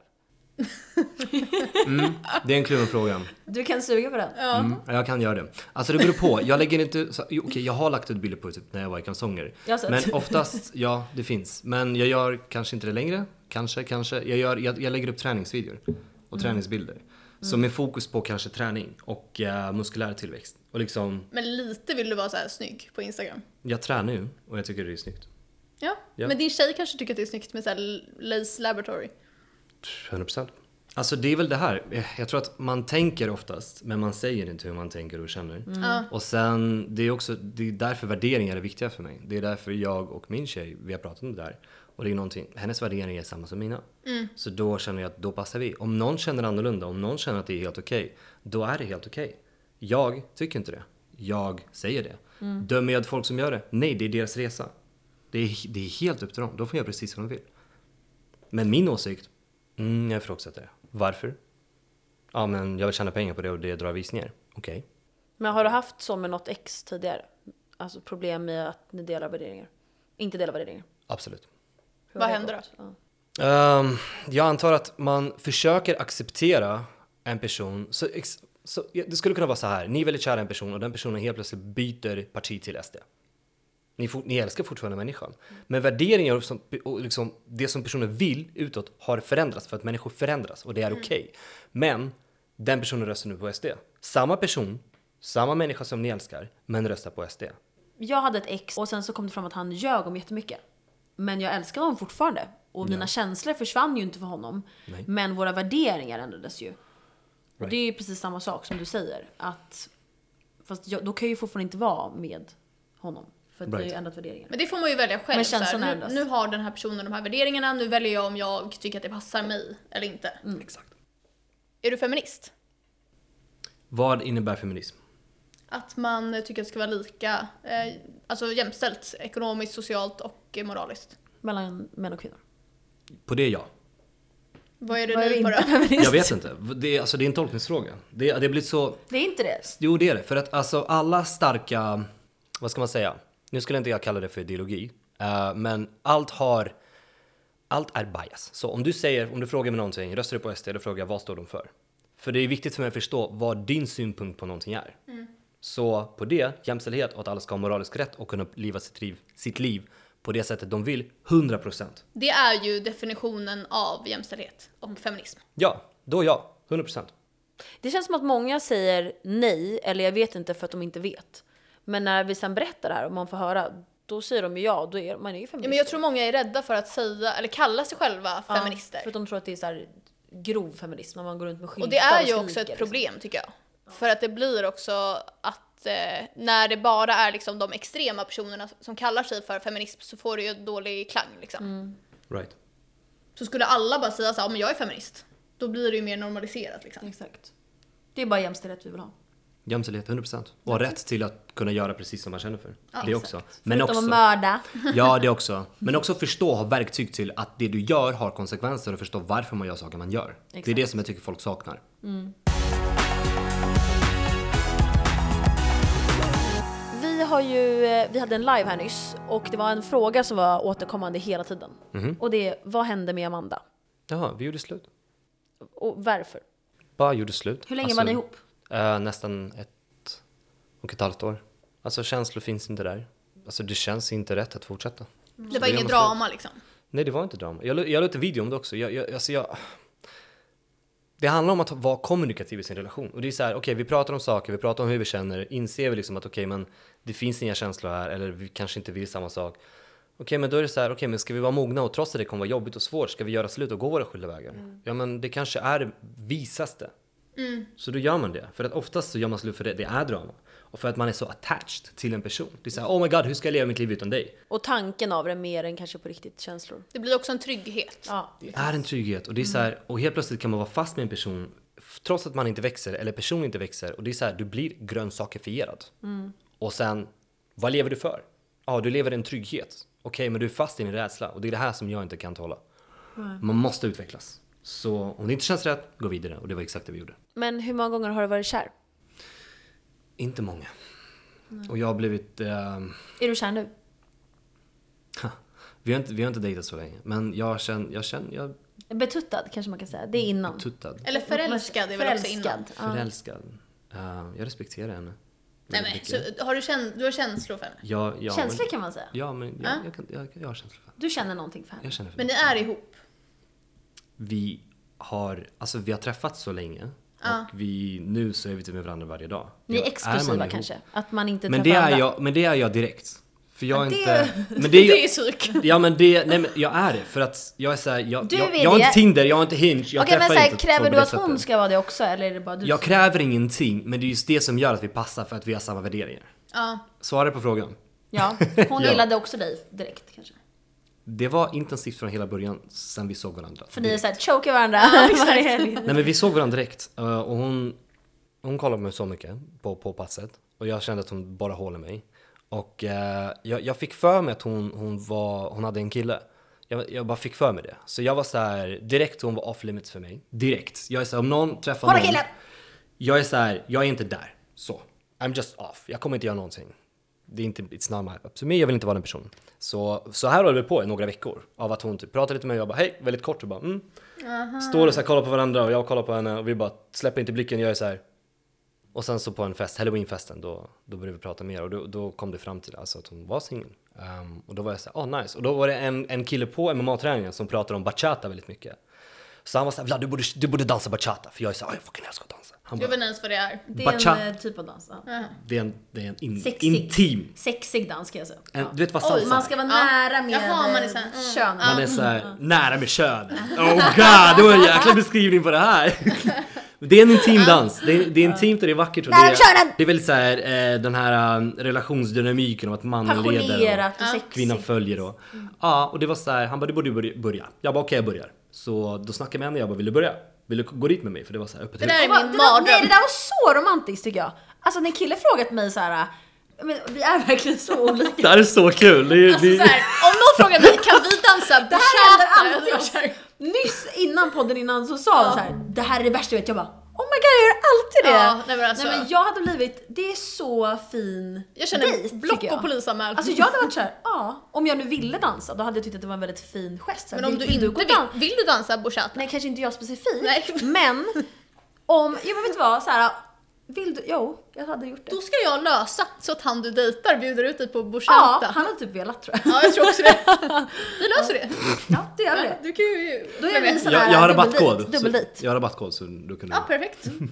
Speaker 2: Det är en kluven fråga.
Speaker 3: Du kan suga på den.
Speaker 2: Mm, jag kan göra det. Alltså det beror på. Jag lägger inte... så- jo, Okej, jag har lagt ut bilder på typ när jag var i kalsonger.
Speaker 3: Jag har sett.
Speaker 2: Men oftast, ja det finns. Men jag gör kanske inte det längre. Kanske, kanske. Jag, gör, jag, jag lägger upp träningsvideor och
Speaker 3: Mm.
Speaker 2: träningsbilder. Så med fokus på kanske träning och eh, muskulär tillväxt. Och liksom,
Speaker 1: Men lite vill du vara så här snygg på Instagram.
Speaker 2: jag tränar ju och jag tycker det är snyggt.
Speaker 1: Ja.
Speaker 2: Ja.
Speaker 1: Men din tjej kanske tycker att det är snyggt med så här Lace Laboratory.
Speaker 2: 100%. Alltså det är väl det här. Eh, Jag tror att man tänker oftast, men man säger inte hur man tänker och känner.
Speaker 1: Ja.
Speaker 2: Och sen, det är också det är därför värderingar är viktiga för mig. Det är därför jag och min tjej, vi har pratat om det där. Och det är någonting, hennes värderingar är samma som mina. Så då känner jag att då passar vi. Om någon känner annorlunda, om någon känner att det är helt okej, då är det helt okej. Jag tycker inte det. Jag säger det. Dömer jag folk som gör det? Nej, det är deras resa. Det är, det är helt upp till dem. De får göra precis vad de vill. Men min åsikt? Mm, jag ifrågasätter det. Varför? Ja, men jag vill tjäna pengar på det och det drar visningar. Okej.
Speaker 3: Men har du haft så med något ex tidigare? Alltså problem med att ni delar värderingar? Inte delar värderingar.
Speaker 2: Absolut.
Speaker 3: Hur
Speaker 1: Vad
Speaker 3: har det
Speaker 1: händer
Speaker 3: gått? Ja.
Speaker 2: Ehm, jag antar att man försöker acceptera en person. Så, ex, så, ja, det skulle kunna vara så här. Ni är väldigt kära en person och den personen helt plötsligt byter parti till SD. Ni, for, ni älskar fortfarande människan. Men värderingar och, som, och liksom, det som personen vill utåt har förändrats för att människor förändras och det är okej. Men den personen röstar nu på SD. Samma person, samma människa som ni älskar, men röstar på SD.
Speaker 3: Jag hade ett ex och sen så kom det fram att han ljög om jättemycket. Men jag älskar honom fortfarande. Och mina känslor försvann ju inte för honom.
Speaker 2: Nej.
Speaker 3: Men våra värderingar ändrades ju. Och det är ju precis samma sak som du säger. Att, fast jag, då kan jag ju fortfarande inte vara med honom. För att vi har ju
Speaker 2: Right.
Speaker 3: ändrat värderingar.
Speaker 1: Men det får man ju välja själv.
Speaker 3: Men
Speaker 1: så här,
Speaker 3: känslan
Speaker 1: nu,
Speaker 3: ändras.
Speaker 1: nu har den här personen de här värderingarna, nu väljer jag om jag tycker att det passar mig eller inte.
Speaker 3: Mm.
Speaker 2: Exakt.
Speaker 1: Är du feminist?
Speaker 2: Vad innebär feminism?
Speaker 1: Att man tycker att det ska vara lika, eh, alltså jämställt ekonomiskt, socialt och eh, moraliskt.
Speaker 3: Mellan män och kvinnor.
Speaker 2: På det ja.
Speaker 1: Vad är det
Speaker 3: Vad är
Speaker 1: nu på
Speaker 3: inte
Speaker 1: då?
Speaker 3: feminist?
Speaker 2: Jag vet inte. Det är, alltså, det är en tolkningsfråga. Det, det har blivit så...
Speaker 3: Det är inte det.
Speaker 2: Jo, det är det. För att alltså, alla starka... Vad ska man säga? Nu skulle inte jag kalla det för ideologi. eh, men allt har... Allt är bias. Så om du säger, om du frågar mig någonting, röstar du på SD? Då frågar jag, vad står de för? För det är viktigt för mig att förstå vad din synpunkt på någonting är.
Speaker 3: Mm.
Speaker 2: Så på det, jämställdhet och att alla ska ha moralisk rätt och kunna leva sitt liv, sitt liv på det sättet de vill, 100%.
Speaker 1: Det är ju definitionen av jämställdhet och feminism.
Speaker 2: Ja, då ja, 100%.
Speaker 3: Det känns som att många säger nej, eller jag vet inte för att de inte vet. Men när vi sen berättar det här och man får höra, då säger de ju ja, då är man är ju feminist.
Speaker 1: Ja, men jag tror många är rädda för att säga, eller kalla sig själva
Speaker 3: Ja,
Speaker 1: feminister.
Speaker 3: För att de tror att det är så här grov feminism, när man går runt med skyltar
Speaker 1: Och det är ju
Speaker 3: skriker,
Speaker 1: också ett
Speaker 3: liksom.
Speaker 1: problem tycker jag. För att det blir också att eh, när det bara är liksom de extrema personerna som kallar sig för feminism så får det ju dålig klang liksom.
Speaker 3: Mm.
Speaker 2: Right.
Speaker 1: Så skulle alla bara säga så här, "Ja, men jag är feminist. Då blir det ju mer normaliserat liksom.
Speaker 3: Exakt. Det är bara jämställdhet vi vill ha.
Speaker 2: Jämställdhet, 100%. Och rätt till att kunna göra precis som man känner för. det också. Men
Speaker 3: Förutom
Speaker 2: också,
Speaker 3: att mörda.
Speaker 2: ja, det också. Men också förstå, ha verktyg till att det du gör har konsekvenser och förstå varför man gör saker man gör. Det är
Speaker 3: Exakt.
Speaker 2: det som jag tycker folk saknar.
Speaker 3: Vi har ju, eh, vi hade en live här nyss och det var en fråga som var återkommande hela tiden.
Speaker 2: Mhm.
Speaker 3: Och det är, vad hände med Amanda?
Speaker 2: Jaha, vi gjorde slut.
Speaker 3: Och varför?
Speaker 2: Bara gjorde slut.
Speaker 3: Hur länge var ni ihop?
Speaker 2: Eh, nästan ett och ett halvt år. Alltså känslor finns inte där. Alltså det känns inte rätt att fortsätta.
Speaker 1: Det var
Speaker 2: det gör
Speaker 1: inget
Speaker 2: man så.
Speaker 1: drama liksom.
Speaker 2: Nej, det var inte drama. Jag, la- jag la ut en video om det också. Jag, jag, alltså jag, Det handlar om att vara kommunikativ i sin relation. Och det är så här, okej, vi pratar om saker, vi pratar om hur vi känner, inser vi liksom att okej, men det finns inga känslor här eller vi kanske inte vill samma sak. Okej, men då är det så här, okej, men ska vi vara mogna och trots att det kommer vara jobbigt och svårt, ska vi göra slut och gå våra skilda vägar? Ja, men det kanske är det visaste. Så då gör man det. För att oftast så gör man slut för det, det är drama. Och för att man är så attached till en person. Det är så här, oh my god, hur ska jag leva mitt liv utan dig?
Speaker 3: Och tanken av det mer än kanske på riktigt känslor.
Speaker 1: Det blir också en trygghet.
Speaker 3: Ja.
Speaker 2: Det är en trygghet och det är så här, och helt plötsligt kan man vara fast med en person f- trots att man inte växer eller personen inte växer och det är så här, du blir grönsakefierad. Och sen, vad lever du för? Ja, du lever i en trygghet. Okej, men du är fast i din rädsla och det är det här som jag inte kan tåla. Man måste utvecklas. Så om det inte känns rätt, gå vidare och det var exakt det vi gjorde.
Speaker 3: Men hur många gånger har du varit kär?
Speaker 2: Inte många. Och jag har blivit... ehm,
Speaker 3: Är du kär nu?
Speaker 2: vi, har inte, vi har inte dejtat så länge, men jag känner, jag känner, jag är
Speaker 3: Betuttad kanske man kan säga. Det är innan.
Speaker 2: tuttad.
Speaker 1: Eller förälskad är väl också innan.
Speaker 3: Mm. Förälskad, ja.
Speaker 2: Förälskad. Eh, jag respekterar henne.
Speaker 1: Nej,
Speaker 2: väldigt
Speaker 1: men,
Speaker 2: mycket.
Speaker 1: så, har du, kän, du har känslor för henne?
Speaker 2: Ja, ja,
Speaker 3: Känslor
Speaker 2: men,
Speaker 3: kan man säga.
Speaker 2: Ja, men jag, jag, kan, jag, jag har känslor för
Speaker 3: Du känner någonting för henne.
Speaker 2: Jag känner för
Speaker 1: Men ni är
Speaker 2: det.
Speaker 1: ihop?
Speaker 2: Vi har, alltså vi har träffats så länge. Och vi, nu så är vi typ med varandra varje dag.
Speaker 3: Ni
Speaker 2: Ja,
Speaker 3: är exklusiva
Speaker 2: man ihop?
Speaker 3: kanske. Att man inte
Speaker 2: Men det,
Speaker 3: träffar
Speaker 2: är
Speaker 3: andra.
Speaker 2: jag, men det är jag direkt. För jag är
Speaker 3: det-
Speaker 2: inte... Men
Speaker 1: Det
Speaker 2: det
Speaker 1: är,
Speaker 2: är,
Speaker 1: psyk.
Speaker 2: ja men det, nej men jag är det. För att jag är såhär, jag,
Speaker 3: Du
Speaker 2: jag,
Speaker 3: är
Speaker 2: jag har
Speaker 3: det.
Speaker 2: inte Tinder, jag har inte Hinge, jag
Speaker 3: Okej men
Speaker 2: träffar
Speaker 3: så här,
Speaker 2: inte
Speaker 3: kräver
Speaker 2: folk på
Speaker 3: du
Speaker 2: det
Speaker 3: att hon
Speaker 2: sättet.
Speaker 3: ska vara det också eller är det bara du?
Speaker 2: Jag
Speaker 3: som-
Speaker 2: kräver ingenting, men det är just det som gör att vi passar för att vi har samma värderingar.
Speaker 1: Ja.
Speaker 2: Svara på frågan.
Speaker 3: Ja, hon
Speaker 2: Ja.
Speaker 3: gillade också dig direkt kanske.
Speaker 2: Det var intensivt från hela början, sen vi såg varandra.
Speaker 3: För
Speaker 2: Det-
Speaker 3: ni är såhär, choke varandra varje helg.
Speaker 2: Nej men vi såg varandra direkt eh, och hon, hon kollade på mig så mycket på, på passet och jag kände att hon bara håller mig. Och eh, jag, jag fick för mig att hon, hon, var, hon hade en kille. Jag, jag bara fick för mig det. Så jag var så här direkt hon var off limits för mig. Direkt. Jag är så här, om någon träffar
Speaker 3: Hålla
Speaker 2: någon.
Speaker 3: killen!
Speaker 2: Jag är så här, jag är inte där. Så. I'm just off. Jag kommer inte göra någonting. Det är inte, it's not my up to me. Jag vill inte vara den personen. Så, så här höll vi på i några veckor. Av att hon typ pratade lite med mig och jag bara hej, väldigt kort och bara mm. Står och så här kollar på varandra och jag kollar på henne och vi bara släpper inte blicken, jag är så här. Och sen så på en fest, halloweenfesten, då, då började vi prata mer och då, då kom det fram till alltså, att hon var singel. Ehm, och då var jag så här, ah nice. Och då var det en, en kille på MMA-träningen som pratade om bachata väldigt mycket. Så han var så här, Vlad du borde, du borde dansa bachata. För jag är så här, "Ah, jag fucking älskar att dansa. Han
Speaker 1: Jag
Speaker 2: bara,
Speaker 1: vet inte ens vad det är.
Speaker 3: Det är
Speaker 2: Bachata.
Speaker 3: en eh, typ av dans. Ja.
Speaker 2: det är en, det är en in,
Speaker 3: Sexig.
Speaker 2: intim.
Speaker 3: Sexig dans kan jag säga.
Speaker 2: En,
Speaker 3: Ja.
Speaker 2: Du vet vad
Speaker 1: Oj,
Speaker 2: salsa
Speaker 3: Man
Speaker 2: är?
Speaker 3: ska vara
Speaker 1: Ja.
Speaker 3: nära med
Speaker 1: Jaha, man är
Speaker 3: eh,
Speaker 1: så här, mm.
Speaker 3: könet.
Speaker 2: Man är så här, nära med könen. Oh god, det var en jäkla beskrivning på det här. Men Det är en intim dans. Det är, det är intimt och det är vackert. Och det,
Speaker 3: Nära med
Speaker 2: är,
Speaker 3: könen!
Speaker 2: det är väldigt så här, eh, den här eh, relationsdynamiken om att mannen leder och
Speaker 3: Passionerat och sexigt.
Speaker 2: kvinnan följer. Och,
Speaker 1: Mm.
Speaker 2: ja, och det var så här, han bara du borde börja- börja. Jag bara okej jag börjar. Så då snackade jag med henne jag bara vill du börja? Vill du gå dit med mig? För det var så här öppet
Speaker 1: Det
Speaker 2: hus.
Speaker 1: där är
Speaker 3: Det var-
Speaker 1: min
Speaker 3: det där, nej det
Speaker 1: mardröm.
Speaker 3: där var så romantiskt tycker jag. Alltså när en kille frågat mig så här. Men vi är verkligen så olika.
Speaker 2: Det här är så kul! Det är,
Speaker 1: Alltså,
Speaker 2: det,
Speaker 1: så här, om någon frågar mig, kan vi dansa
Speaker 3: Det här händer alltid
Speaker 1: Jag
Speaker 3: oss.
Speaker 1: så här,
Speaker 3: Nyss innan podden innan så sa hon så här. det här är det värsta jag vet. Jag bara oh my god jag gör alltid det.
Speaker 1: Ja, nej, men alltså-
Speaker 3: nej men jag hade blivit, det är så fin
Speaker 1: Jag känner
Speaker 3: dejt,
Speaker 1: block
Speaker 3: tycker jag.
Speaker 1: och polisanmälan.
Speaker 3: Alltså jag hade varit såhär, ja, om jag nu ville dansa då hade jag tyckt att det var en väldigt fin gest. Så här,
Speaker 1: men om
Speaker 3: vill-
Speaker 1: du
Speaker 3: vill
Speaker 1: inte
Speaker 3: gå
Speaker 1: vill,
Speaker 3: dans-
Speaker 1: vill du dansa bachata?
Speaker 3: Nej, kanske inte jag specifikt.
Speaker 1: Nej.
Speaker 3: Men om, jag vet inte vad, så här, vill du, jo, jag hade gjort det.
Speaker 1: Då ska jag lösa så att han du dejtar bjuder ut dig på bachata.
Speaker 3: Ja, han hade typ velat tror jag.
Speaker 1: Ja, jag tror också det. Vi löser det.
Speaker 3: Ja, det gör vi det.
Speaker 1: Du kan ju...
Speaker 3: Då är vi sån
Speaker 2: jag,
Speaker 3: här
Speaker 2: jag har
Speaker 3: dubbeldejt,
Speaker 2: rabattkod. så-
Speaker 3: Dubbeldejt.
Speaker 2: Jag har rabattkod så du kunde...
Speaker 1: Ja, perfekt.
Speaker 3: Mm.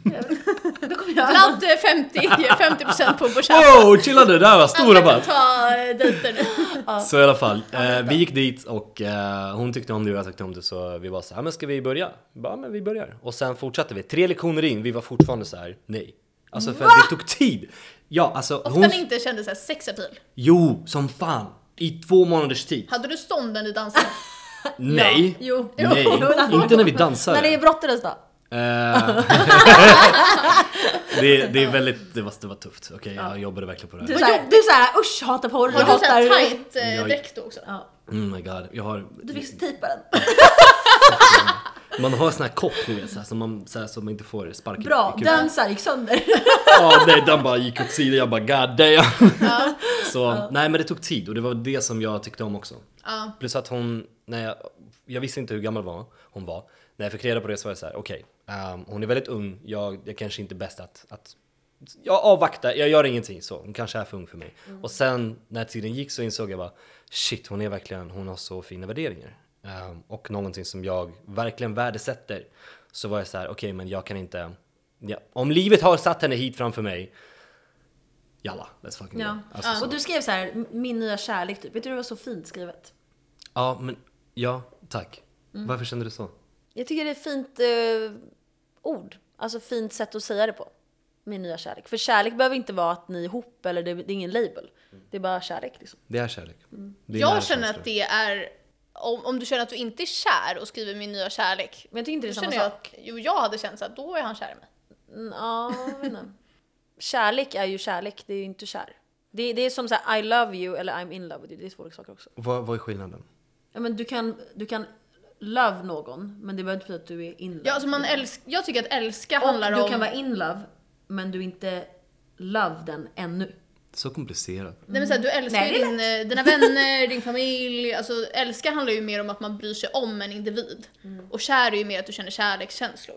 Speaker 3: Då kommer jag.
Speaker 1: Vlad eh, 50 ger 50% på bachata.
Speaker 2: Wow, chilla nu! Där var stor
Speaker 1: Alla kan
Speaker 2: rabatt!
Speaker 1: ta eh, dejter nu.
Speaker 2: Så i alla fall, eh, vi gick dit och eh, hon tyckte om det och jag tyckte om det så vi var så här, "Ah, men ska vi börja? Vi bara, "Ja, men vi börjar. Och sen fortsatte vi, tre lektioner in, vi var fortfarande så här, nej. Alltså för att det tog tid! Ja, alltså
Speaker 1: Ofta
Speaker 2: hon...
Speaker 1: när inte kände såhär sexapil.
Speaker 2: Jo, som fan! I två månaders tid.
Speaker 1: Hade du stånden i dansen?
Speaker 2: Nej!
Speaker 1: Jo.
Speaker 2: Nej, inte när vi dansar.
Speaker 3: När det är brottades då?
Speaker 2: Eh, det, det är väldigt, det var, det var tufft. Okej, jag jobbade verkligen på det här.
Speaker 3: Du är såhär, du är såhär usch hatar porr,
Speaker 1: Har
Speaker 3: jag
Speaker 1: du såhär
Speaker 3: hatar...
Speaker 1: tight eh,
Speaker 2: Jag-
Speaker 1: dräkt då också?
Speaker 3: Ja,
Speaker 2: Oh my god, jag har...
Speaker 3: du fick tejpa den.
Speaker 2: Man har sån här kopp ni vet, så här, som man, så här, så man inte får sparken
Speaker 3: Bra,
Speaker 2: i kuken.
Speaker 3: den såhär gick sönder.
Speaker 2: Ja, nej, den bara gick åt sidan. Jag bara god damn. Så nej, men det tog tid och det var det som jag tyckte om också.
Speaker 1: Ja.
Speaker 2: Plus att hon, när jag, jag visste inte hur gammal var, hon var. När jag fick reda på det så var jag så här, okej, ehm, hon är väldigt ung. Jag, jag kanske inte är bäst att, att jag avvaktar, jag gör ingenting så. Hon kanske är för ung för mig.
Speaker 3: Mm.
Speaker 2: Och sen när tiden gick så insåg jag bara shit, hon är verkligen, hon har så fina värderingar. Ehm, och någonting som jag verkligen värdesätter. så var jag så här, okej men jag kan inte, ja, om livet har satt henne hit framför mig, jalla, let's fucking
Speaker 3: Ja.
Speaker 2: go. Alltså, så.
Speaker 3: Och du skrev så här, "M- min nya kärlek typ. Vet du det var så fint skrivet?
Speaker 2: ja, men ja, tack.
Speaker 1: Mm.
Speaker 2: Varför kände du så?
Speaker 3: Jag tycker det är ett fint eh, ord. Alltså fint sätt att säga det på. Min nya kärlek. För kärlek behöver inte vara att ni är ihop eller det, det är ingen label.
Speaker 2: Mm.
Speaker 3: Det är bara kärlek liksom.
Speaker 2: Det är kärlek. Det är nära
Speaker 1: Mm. Jag känner
Speaker 2: känslor.
Speaker 1: att det är, om, om du känner att du inte är kär och skriver min nya kärlek,
Speaker 3: Men jag tycker inte det
Speaker 1: då
Speaker 3: är samma
Speaker 1: känner jag
Speaker 3: sak.
Speaker 1: att, jo jag hade känt såhär, då är han kär i mig.
Speaker 3: Mm, Ja, jag vet inte. Kärlek är ju kärlek, det är ju inte kär. Det, det är som såhär I love you eller I'm in love with you, det är två olika saker också.
Speaker 2: Vad, vad är skillnaden?
Speaker 3: Ja, men du, kan, du kan love någon, men det behöver inte betyda att du är in love.
Speaker 1: Ja, alltså man älsk, jag tycker att älska
Speaker 3: och
Speaker 1: handlar
Speaker 3: du
Speaker 1: om...
Speaker 3: kan vara in love, men du är inte love den ännu.
Speaker 2: Så komplicerat.
Speaker 1: Nej, men så här, du älskar
Speaker 3: Nej,
Speaker 1: ju
Speaker 3: det är
Speaker 1: din, eh, dina vänner, din familj. Alltså, älska handlar ju mer om att man bryr sig om en individ. Och kär är ju mer att du känner kärlekskänslor.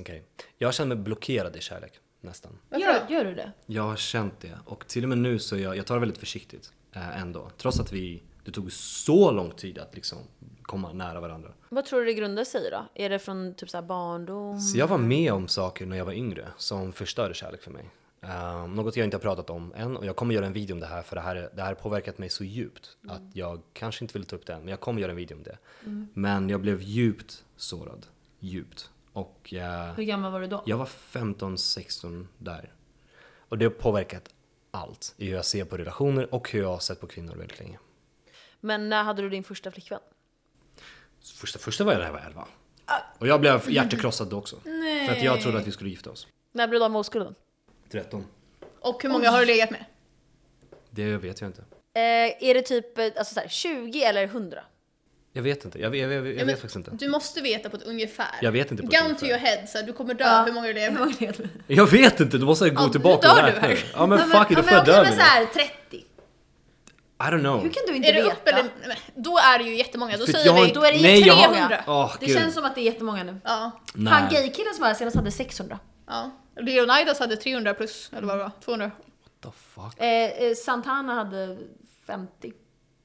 Speaker 2: Okej. Jag känner mig blockerad i kärlek, nästan.
Speaker 1: Varför
Speaker 3: Gör,
Speaker 1: då?
Speaker 3: gör du det?
Speaker 2: Jag har känt det och till och med nu så är jag, jag tar det väldigt försiktigt eh, ändå. Trots att vi, det tog så lång tid att liksom komma nära varandra.
Speaker 3: Vad tror du det grundar sig i då? Är det från typ så här barndom?
Speaker 2: Så jag var med om saker när jag var yngre som förstörde kärlek för mig. Eh, något jag inte har pratat om än och jag kommer göra en video om det här för det här, det här har påverkat mig så djupt att jag kanske inte vill ta upp det än men jag kommer göra en video om det. Men jag blev djupt sårad. Djupt. Och eh,
Speaker 3: Hur gammal var du då?
Speaker 2: Jag var 15, 16 där. Och det har påverkat allt i hur jag ser på relationer och hur jag har sett på kvinnor väldigt länge.
Speaker 3: Men när hade du din första flickvän?
Speaker 2: Första, första var jag när jag var 11. Och jag blev hjärtekrossad då också. För att jag trodde att vi skulle gifta oss.
Speaker 3: När blev du av med oskulden?
Speaker 2: 13.
Speaker 1: Och hur många har du legat med?
Speaker 2: Det vet jag inte.
Speaker 3: Eh, är det typ eh, alltså så här, 20 eller 100?
Speaker 2: Jag vet inte. Jag, jag, jag, jag,
Speaker 1: Ja, men
Speaker 2: vet faktiskt inte.
Speaker 1: Du måste veta på ett ungefär.
Speaker 2: Jag vet inte på ett
Speaker 1: Gun
Speaker 2: ungefär.
Speaker 1: to your head, så här, du kommer dö
Speaker 3: Ja.
Speaker 1: hur många du lever med.
Speaker 2: Jag vet inte! Då måste jag gå
Speaker 1: Ja,
Speaker 2: tillbaka
Speaker 1: dör du
Speaker 2: räkna.
Speaker 1: här?
Speaker 2: Ja men fuck it, då får jag dö
Speaker 3: okej, men
Speaker 2: med
Speaker 3: så här 30.
Speaker 2: det. I don't know.
Speaker 3: Hur kan du inte
Speaker 1: Är det
Speaker 3: veta?
Speaker 1: upp eller... Nej, men Då är det ju jättemånga. Då
Speaker 2: För
Speaker 1: säger
Speaker 2: jag har
Speaker 1: vi...
Speaker 2: inte-
Speaker 3: Då är det
Speaker 2: Nej, jag har-
Speaker 3: 300.
Speaker 2: Åh,
Speaker 3: det
Speaker 2: gud.
Speaker 3: känns som att det är jättemånga nu.
Speaker 1: Ja.
Speaker 2: Nej.
Speaker 3: Han gaykillen som var här senast hade 600.
Speaker 1: Ja. Leonidas hade 300 plus, eller vad det var? 200?
Speaker 2: What the fuck?
Speaker 3: Eh, eh, Santana hade 50.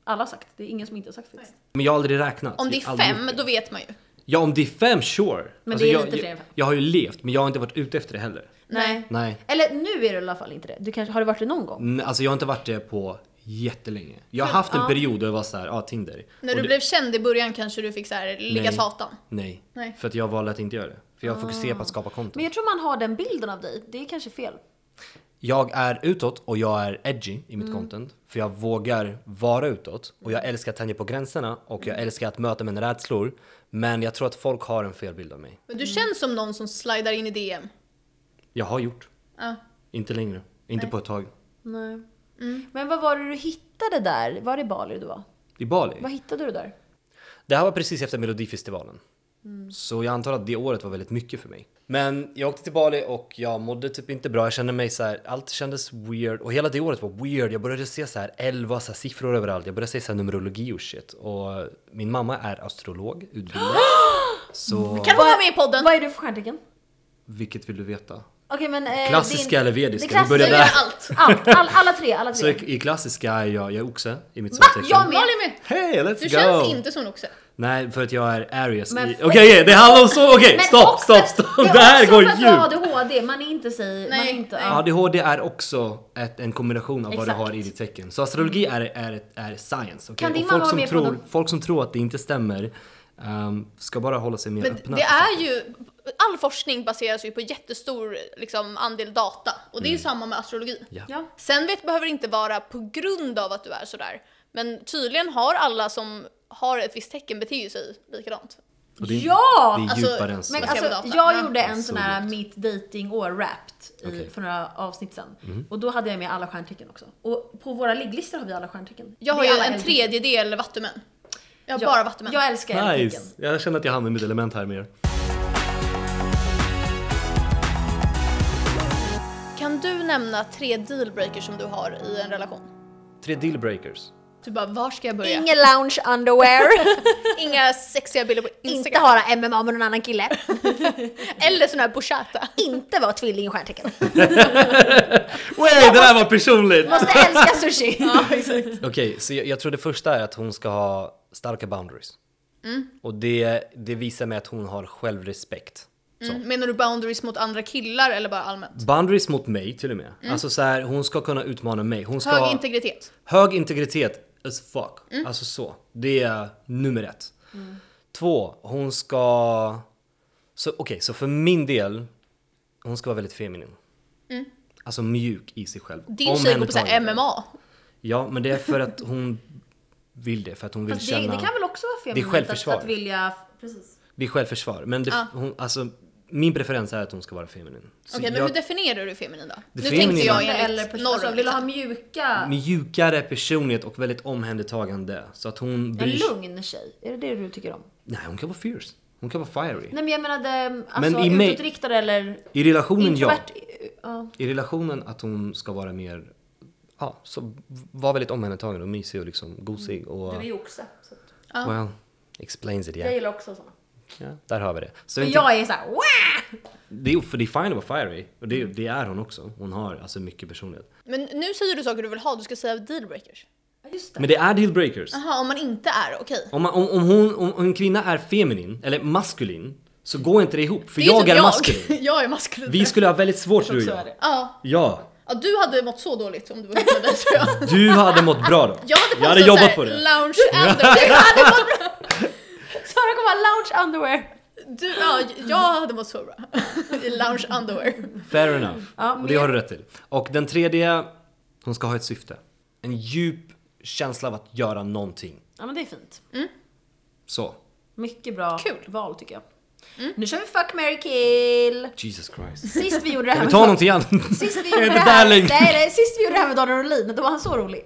Speaker 3: Alla har sagt. Det är ingen som inte har sagt faktiskt.
Speaker 2: Men jag har aldrig räknat.
Speaker 1: Om det
Speaker 2: Jag har
Speaker 1: är
Speaker 2: aldrig gjort
Speaker 1: fem,
Speaker 2: det.
Speaker 1: då vet man ju.
Speaker 2: Ja om det är fem, sure. Alltså,
Speaker 3: Men det är
Speaker 2: jag,
Speaker 3: lite fler
Speaker 2: jag,
Speaker 3: än fem.
Speaker 2: jag har ju levt men jag har inte varit ute efter det heller.
Speaker 1: Nej.
Speaker 2: Nej.
Speaker 3: Eller nu är du i alla fall inte det. Du kanske, har du varit det någon gång?
Speaker 2: Mm, Alltså jag har inte varit det på jättelänge. Jag har haft en period då jag var såhär, ja ah, Tinder.
Speaker 1: När
Speaker 2: Och
Speaker 1: du
Speaker 2: det-
Speaker 1: blev känd i början kanske du fick så här, ligga
Speaker 2: Nej.
Speaker 1: satan.
Speaker 2: Nej.
Speaker 1: Nej.
Speaker 2: För att jag valde att inte göra det. För jag fokuserar på att skapa
Speaker 3: Men
Speaker 2: content.
Speaker 3: jag tror man har den bilden av dig. Det är kanske fel.
Speaker 2: Jag är utåt och jag är edgy i mitt content. För jag vågar vara utåt. Och jag älskar att tänja på gränserna och jag älskar att möta mina rädslor. Men jag tror att folk har en felbild av mig.
Speaker 1: Men du känns som någon som slidar in i DM.
Speaker 2: Jag har gjort.
Speaker 1: Ja.
Speaker 2: Inte längre. Inte på ett tag.
Speaker 3: Nej.
Speaker 1: Mm.
Speaker 3: Men vad var det du hittade där? Var det Bali du var?
Speaker 2: I Bali.
Speaker 3: Vad hittade du där?
Speaker 2: Det här var precis efter Melodifestivalen. Så jag antar att det året var väldigt mycket för mig. Men jag åkte till Bali och jag mådde typ inte bra. Jag kände mig så här, allt kändes weird. Och hela det året var weird. Jag började se så här 11 så här, siffror överallt. Jag började se så här numerologi och shit. Och min mamma är astrolog, utbildad. så
Speaker 1: Kan hon vara med i podden?
Speaker 3: Vad är du för stjärntecken?
Speaker 2: vilket vill du veta?
Speaker 3: Okej men... Eh,
Speaker 2: Klassiska
Speaker 3: din-
Speaker 2: eller vediska?
Speaker 3: det
Speaker 2: Vi börjar
Speaker 3: klassiska-
Speaker 2: där.
Speaker 1: Allt.
Speaker 3: Allt, all, alla tre, alla
Speaker 2: Så
Speaker 3: tre.
Speaker 2: i, i klassiska är jag, jag är oxe i mitt
Speaker 3: Jag
Speaker 2: soltecken.
Speaker 3: med.
Speaker 1: Malin med.
Speaker 2: Hej, let's
Speaker 1: Du
Speaker 2: go!
Speaker 1: känns inte som en oxe.
Speaker 2: Nej, för att jag är Aries. i-
Speaker 3: Men-
Speaker 2: Okej, okej, det handlar om så, okej,
Speaker 3: Men
Speaker 2: stopp,
Speaker 3: också-
Speaker 2: stopp, stopp! Det här går
Speaker 3: Det är också för
Speaker 2: djupt!
Speaker 3: att du har ADHD, man är inte sig... man är
Speaker 1: Nej,
Speaker 3: inte,
Speaker 1: nej.
Speaker 3: ja.
Speaker 2: ADHD är också ett, en kombination av vad
Speaker 3: Exakt. Mm.
Speaker 2: du har i ditt tecken. Så astrologi är, är, ett- är science. okej?
Speaker 3: Kan din
Speaker 2: Och
Speaker 3: mamma
Speaker 2: folk, som
Speaker 3: vara med på
Speaker 2: tror,
Speaker 3: dem?
Speaker 2: folk som tror att det inte stämmer ehm, ska bara hålla sig mer
Speaker 1: Men
Speaker 2: öppna. alltså.
Speaker 1: det är ju, all forskning baseras ju på jättestor liksom, andel data. Och det är ju samma med astrologi.
Speaker 2: Mm. Ja.
Speaker 3: Ja.
Speaker 1: Sen vet, behöver det inte vara på grund av att du är sådär. Men tydligen har alla som har ett visst tecken beter ju sig likadant.
Speaker 2: Och det är-
Speaker 3: Ja!
Speaker 2: Det är
Speaker 1: Alltså,
Speaker 2: djupare än så.
Speaker 3: Men
Speaker 1: Så
Speaker 3: alltså,
Speaker 1: jävla data.
Speaker 3: jag
Speaker 1: Ja.
Speaker 3: gjorde en
Speaker 2: Så
Speaker 3: sån här
Speaker 2: djupt.
Speaker 3: mitt datingår wrapped i,
Speaker 2: Okej. Mhm.
Speaker 3: för några avsnitt sen. Och då hade jag med alla stjärntecken också. Och på våra ligglistor har vi alla stjärntecken.
Speaker 1: Jag har
Speaker 3: Det
Speaker 1: ju
Speaker 3: är alla
Speaker 1: en
Speaker 3: eldtecken.
Speaker 1: tredjedel vattumän. Jag har
Speaker 3: Ja,
Speaker 1: bara vattumän.
Speaker 3: Jag älskar
Speaker 2: nice!
Speaker 3: eldtecken.
Speaker 2: Jag känner att jag hamnar i mitt element här mer.
Speaker 1: Kan du nämna tre dealbreakers som du har i en relation?
Speaker 2: Tre dealbreakers.
Speaker 1: Typ bara, var ska jag börja?
Speaker 3: Ingen lounge underwear,
Speaker 1: Inga sexiga bilder på
Speaker 3: inte
Speaker 1: Instagram.
Speaker 3: ha MMA med någon annan kille,
Speaker 1: Eller sån här bouchata.
Speaker 3: inte vara tvilling i stjärntecken.
Speaker 2: Wait, det där var personligt!
Speaker 3: Måste älska sushi.
Speaker 2: Okej, så jag, jag tror det första är att hon ska
Speaker 3: Mm.
Speaker 2: ha starka boundaries. Och det, det visar mig att hon har självrespekt. Så.
Speaker 1: Mm. Menar du boundaries mot andra killar eller bara allmänt?
Speaker 2: Boundaries mot mig till och med.
Speaker 3: Mm.
Speaker 2: Alltså så här, hon ska kunna utmana mig. Hon ska
Speaker 1: Hög
Speaker 2: ha
Speaker 1: integritet.
Speaker 2: hög integritet as fuck.
Speaker 1: Mm.
Speaker 2: Alltså så. Det är nummer ett. Två, hon ska... Så, Okej, så för min del, hon ska vara väldigt feminin. Alltså mjuk i sig själv.
Speaker 1: Mm. Din tjej går på så här
Speaker 2: Omhändertagande.
Speaker 1: MMA.
Speaker 2: Ja, men det är för att hon vill det. För att hon vill
Speaker 3: Fast det,
Speaker 2: känna...
Speaker 3: det kan väl också vara
Speaker 2: Det är
Speaker 3: feminint att,
Speaker 2: självförsvar.
Speaker 3: att vilja... Precis.
Speaker 2: Det är självförsvar. Men det, hon, alltså, min preferens är att hon ska vara feminin. Så
Speaker 1: Okej, men
Speaker 2: jag-
Speaker 1: hur definierar du feminin då? Nu
Speaker 2: feminin-
Speaker 1: tänkte jag enligt
Speaker 3: Eller
Speaker 1: eller
Speaker 3: person,
Speaker 1: norm.
Speaker 3: alltså, vill du ha
Speaker 1: liksom.
Speaker 3: mjuka...
Speaker 2: mjukare personlighet och väldigt omhändertagande. Så att hon
Speaker 3: En
Speaker 2: bryr sig.
Speaker 3: lugn tjej, är det det du tycker om?
Speaker 2: Nej, hon kan vara fierce. Hon kan vara fiery.
Speaker 3: Nej men jag menade alltså,
Speaker 2: i mig-
Speaker 3: utåtriktad eller
Speaker 2: I relationen, ja.
Speaker 3: introvert. Ja.
Speaker 2: I relationen att hon ska vara mer, ja, så var väldigt omhändertagande och mysig och liksom gosig och...
Speaker 3: Du är ju oxe. Så att,
Speaker 2: Well, explains it
Speaker 3: Jag
Speaker 2: yeah.
Speaker 3: gillar också sådana.
Speaker 2: Ja, där har vi det. Så
Speaker 3: För
Speaker 2: inte-
Speaker 3: jag är såhär wow!
Speaker 2: det, är, för det är fine att vara fiery. Och det, det är hon också. Hon har alltså mycket personlighet.
Speaker 1: Men nu säger du saker du vill ha, du ska säga dealbreakers.
Speaker 3: Ja, Just det.
Speaker 2: Men det är dealbreakers.
Speaker 1: Jaha, om man inte är, okej.
Speaker 2: Om, man, om, om, hon, om, om en kvinna är feminin, eller maskulin, så går inte det ihop. För
Speaker 1: Det ju
Speaker 2: jag
Speaker 1: typ
Speaker 2: är maskulin.
Speaker 1: jag är maskulin.
Speaker 2: Vi skulle ha väldigt svårt du och
Speaker 3: Så
Speaker 2: jag.
Speaker 3: är det.
Speaker 1: Ja.
Speaker 2: Ja.
Speaker 1: ja, du hade mått så dåligt om du var ihop med mig tror jag.
Speaker 2: Du hade mått bra då.
Speaker 1: Jag hade, postat
Speaker 2: jag hade
Speaker 1: så här,
Speaker 2: jobbat på det.
Speaker 1: Lounge underwear. Du hade mått bra.
Speaker 3: Sara kommer ha lounge underwear.
Speaker 1: Du, ja, jag hade mått så bra. I lounge underwear.
Speaker 2: Fair enough.
Speaker 3: Ja,
Speaker 2: och det
Speaker 3: men-
Speaker 2: har du rätt till. Och den tredje, hon ska ha ett syfte. En djup känsla av att göra någonting.
Speaker 3: Ja men det är fint.
Speaker 2: Så.
Speaker 3: Mycket bra
Speaker 1: Kul.
Speaker 3: val tycker jag. Nu kör vi fuck, marry, kill!
Speaker 2: Jesus Christ.
Speaker 3: Sist vi gjorde det här
Speaker 2: Kan vi
Speaker 3: med
Speaker 2: ta
Speaker 3: Dan-
Speaker 2: någonting annat?
Speaker 3: Sist vi
Speaker 2: Jag är
Speaker 3: gjorde det
Speaker 2: inte där
Speaker 3: här, nej,
Speaker 2: längre.
Speaker 3: nej, sist vi gjorde det här med Daniel Norlin, då var han så rolig.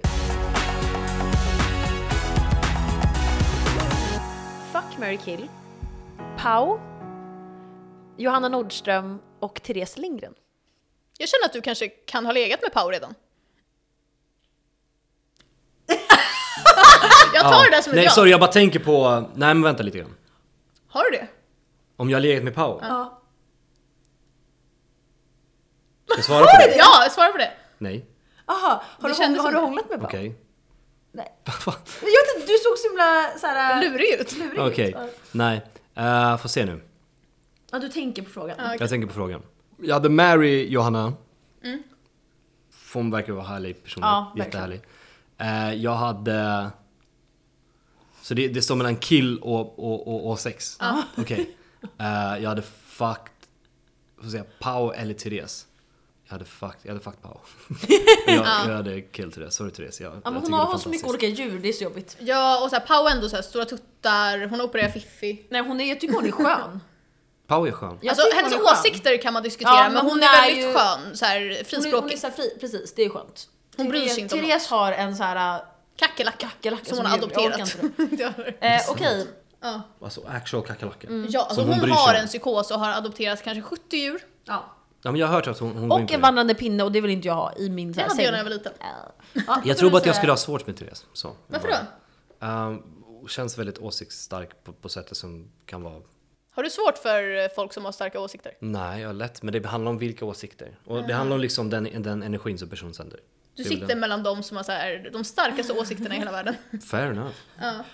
Speaker 3: Fuck, marry, kill. Pau, Johanna Nordström och Therese Lindgren.
Speaker 1: Jag känner att du kanske kan ha legat med Pau redan. jag tar det där som ett
Speaker 2: Nej
Speaker 1: ja.
Speaker 2: sorry, jag bara tänker på... Nej men vänta lite grann.
Speaker 1: Har du det?
Speaker 2: Om jag har legat med Pau? Ska
Speaker 3: Ja.
Speaker 2: jag svara på det?
Speaker 1: Ja, svara på det.
Speaker 2: Nej.
Speaker 3: Aha,
Speaker 1: Det
Speaker 3: har, du, hång,
Speaker 1: kändes
Speaker 3: har
Speaker 1: som
Speaker 3: du
Speaker 1: det.
Speaker 3: hånglat med Pau?
Speaker 2: Okej.
Speaker 3: Nej.
Speaker 2: Vad?
Speaker 3: Jag vet inte, du såg så himla såhär...
Speaker 1: Lurig ut.
Speaker 3: lurig ut.
Speaker 2: Okej. Nej. Uh, får se nu.
Speaker 3: Ja, du tänker på frågan.
Speaker 1: Ja. Okej.
Speaker 2: Jag tänker på frågan. Jag hade Mary Johanna. För Hon verkar vara härlig person.
Speaker 3: Mm. Ja, verkligen.
Speaker 2: Jättehärlig. Eh, jag hade... Så det, det står mellan kill och, och, och, och sex? Okej. Eh, jag hade fucked... Får säga, Pau eller Therese? Jag hade fucked, jag hade fucked Pau. jag, jag hade kill Therese, sorry Therese. Jag,
Speaker 3: Ja,
Speaker 2: jag
Speaker 3: men hon
Speaker 2: tycker
Speaker 3: har
Speaker 2: det är
Speaker 3: hon så mycket
Speaker 2: fantastiskt.
Speaker 3: olika djur, det är så jobbigt.
Speaker 1: Ja, och så här, Pau ändå så här, stora tuttar, hon opererar fiffi.
Speaker 3: Nej, hon är, jag tycker hon är skön.
Speaker 2: Pau är skön.
Speaker 3: Jag
Speaker 1: alltså
Speaker 3: tycker
Speaker 1: hennes
Speaker 3: hon är skön.
Speaker 1: åsikter kan man diskutera,
Speaker 3: Ja,
Speaker 1: men, hon, är, väldigt
Speaker 3: ju-
Speaker 1: skön. Så här,
Speaker 3: Hon är, hon är
Speaker 1: frispråkig.
Speaker 3: så här fri, precis det är skönt.
Speaker 1: Hon bryr sig inte om
Speaker 3: Therese har en så här eh,
Speaker 1: Kackerlacka.
Speaker 3: kackerlacka
Speaker 1: Som hon har
Speaker 3: djur. Jag orkar
Speaker 1: adopterat.
Speaker 3: inte
Speaker 1: Ja.
Speaker 3: det. Eh, Okej,
Speaker 1: ja.
Speaker 2: Alltså actual kackerlacka.
Speaker 3: Mm.
Speaker 1: Ja, alltså
Speaker 2: hon
Speaker 1: hon,
Speaker 2: bryr sig
Speaker 1: har
Speaker 2: om.
Speaker 1: en psykos och har adopterat kanske 70 djur.
Speaker 3: ja.
Speaker 2: Ja, men jag har hört att hon, hon går in
Speaker 3: Och
Speaker 2: på
Speaker 3: en
Speaker 2: det.
Speaker 3: vandrande pinne och det vill inte jag ha i min så
Speaker 1: Det
Speaker 3: här
Speaker 1: hade jag när jag
Speaker 3: säng.
Speaker 1: var liten.
Speaker 3: Ja,
Speaker 2: Jag tror bara att jag
Speaker 3: säga-
Speaker 2: skulle ha svårt med Therese. Så.
Speaker 1: Varför då?
Speaker 2: Ehm, och känns väldigt åsiktsstark på, på sättet som kan vara...
Speaker 1: Har du svårt för eh, folk som har starka åsikter?
Speaker 2: Nej, jag har lätt. Men det handlar om vilka åsikter. Och det handlar om liksom den, den energin som personen sänder.
Speaker 1: Du
Speaker 2: Det är väl
Speaker 1: sitter
Speaker 2: den-
Speaker 1: mellan de som har så här, de starkaste åsikterna i hela världen.
Speaker 2: Fair enough.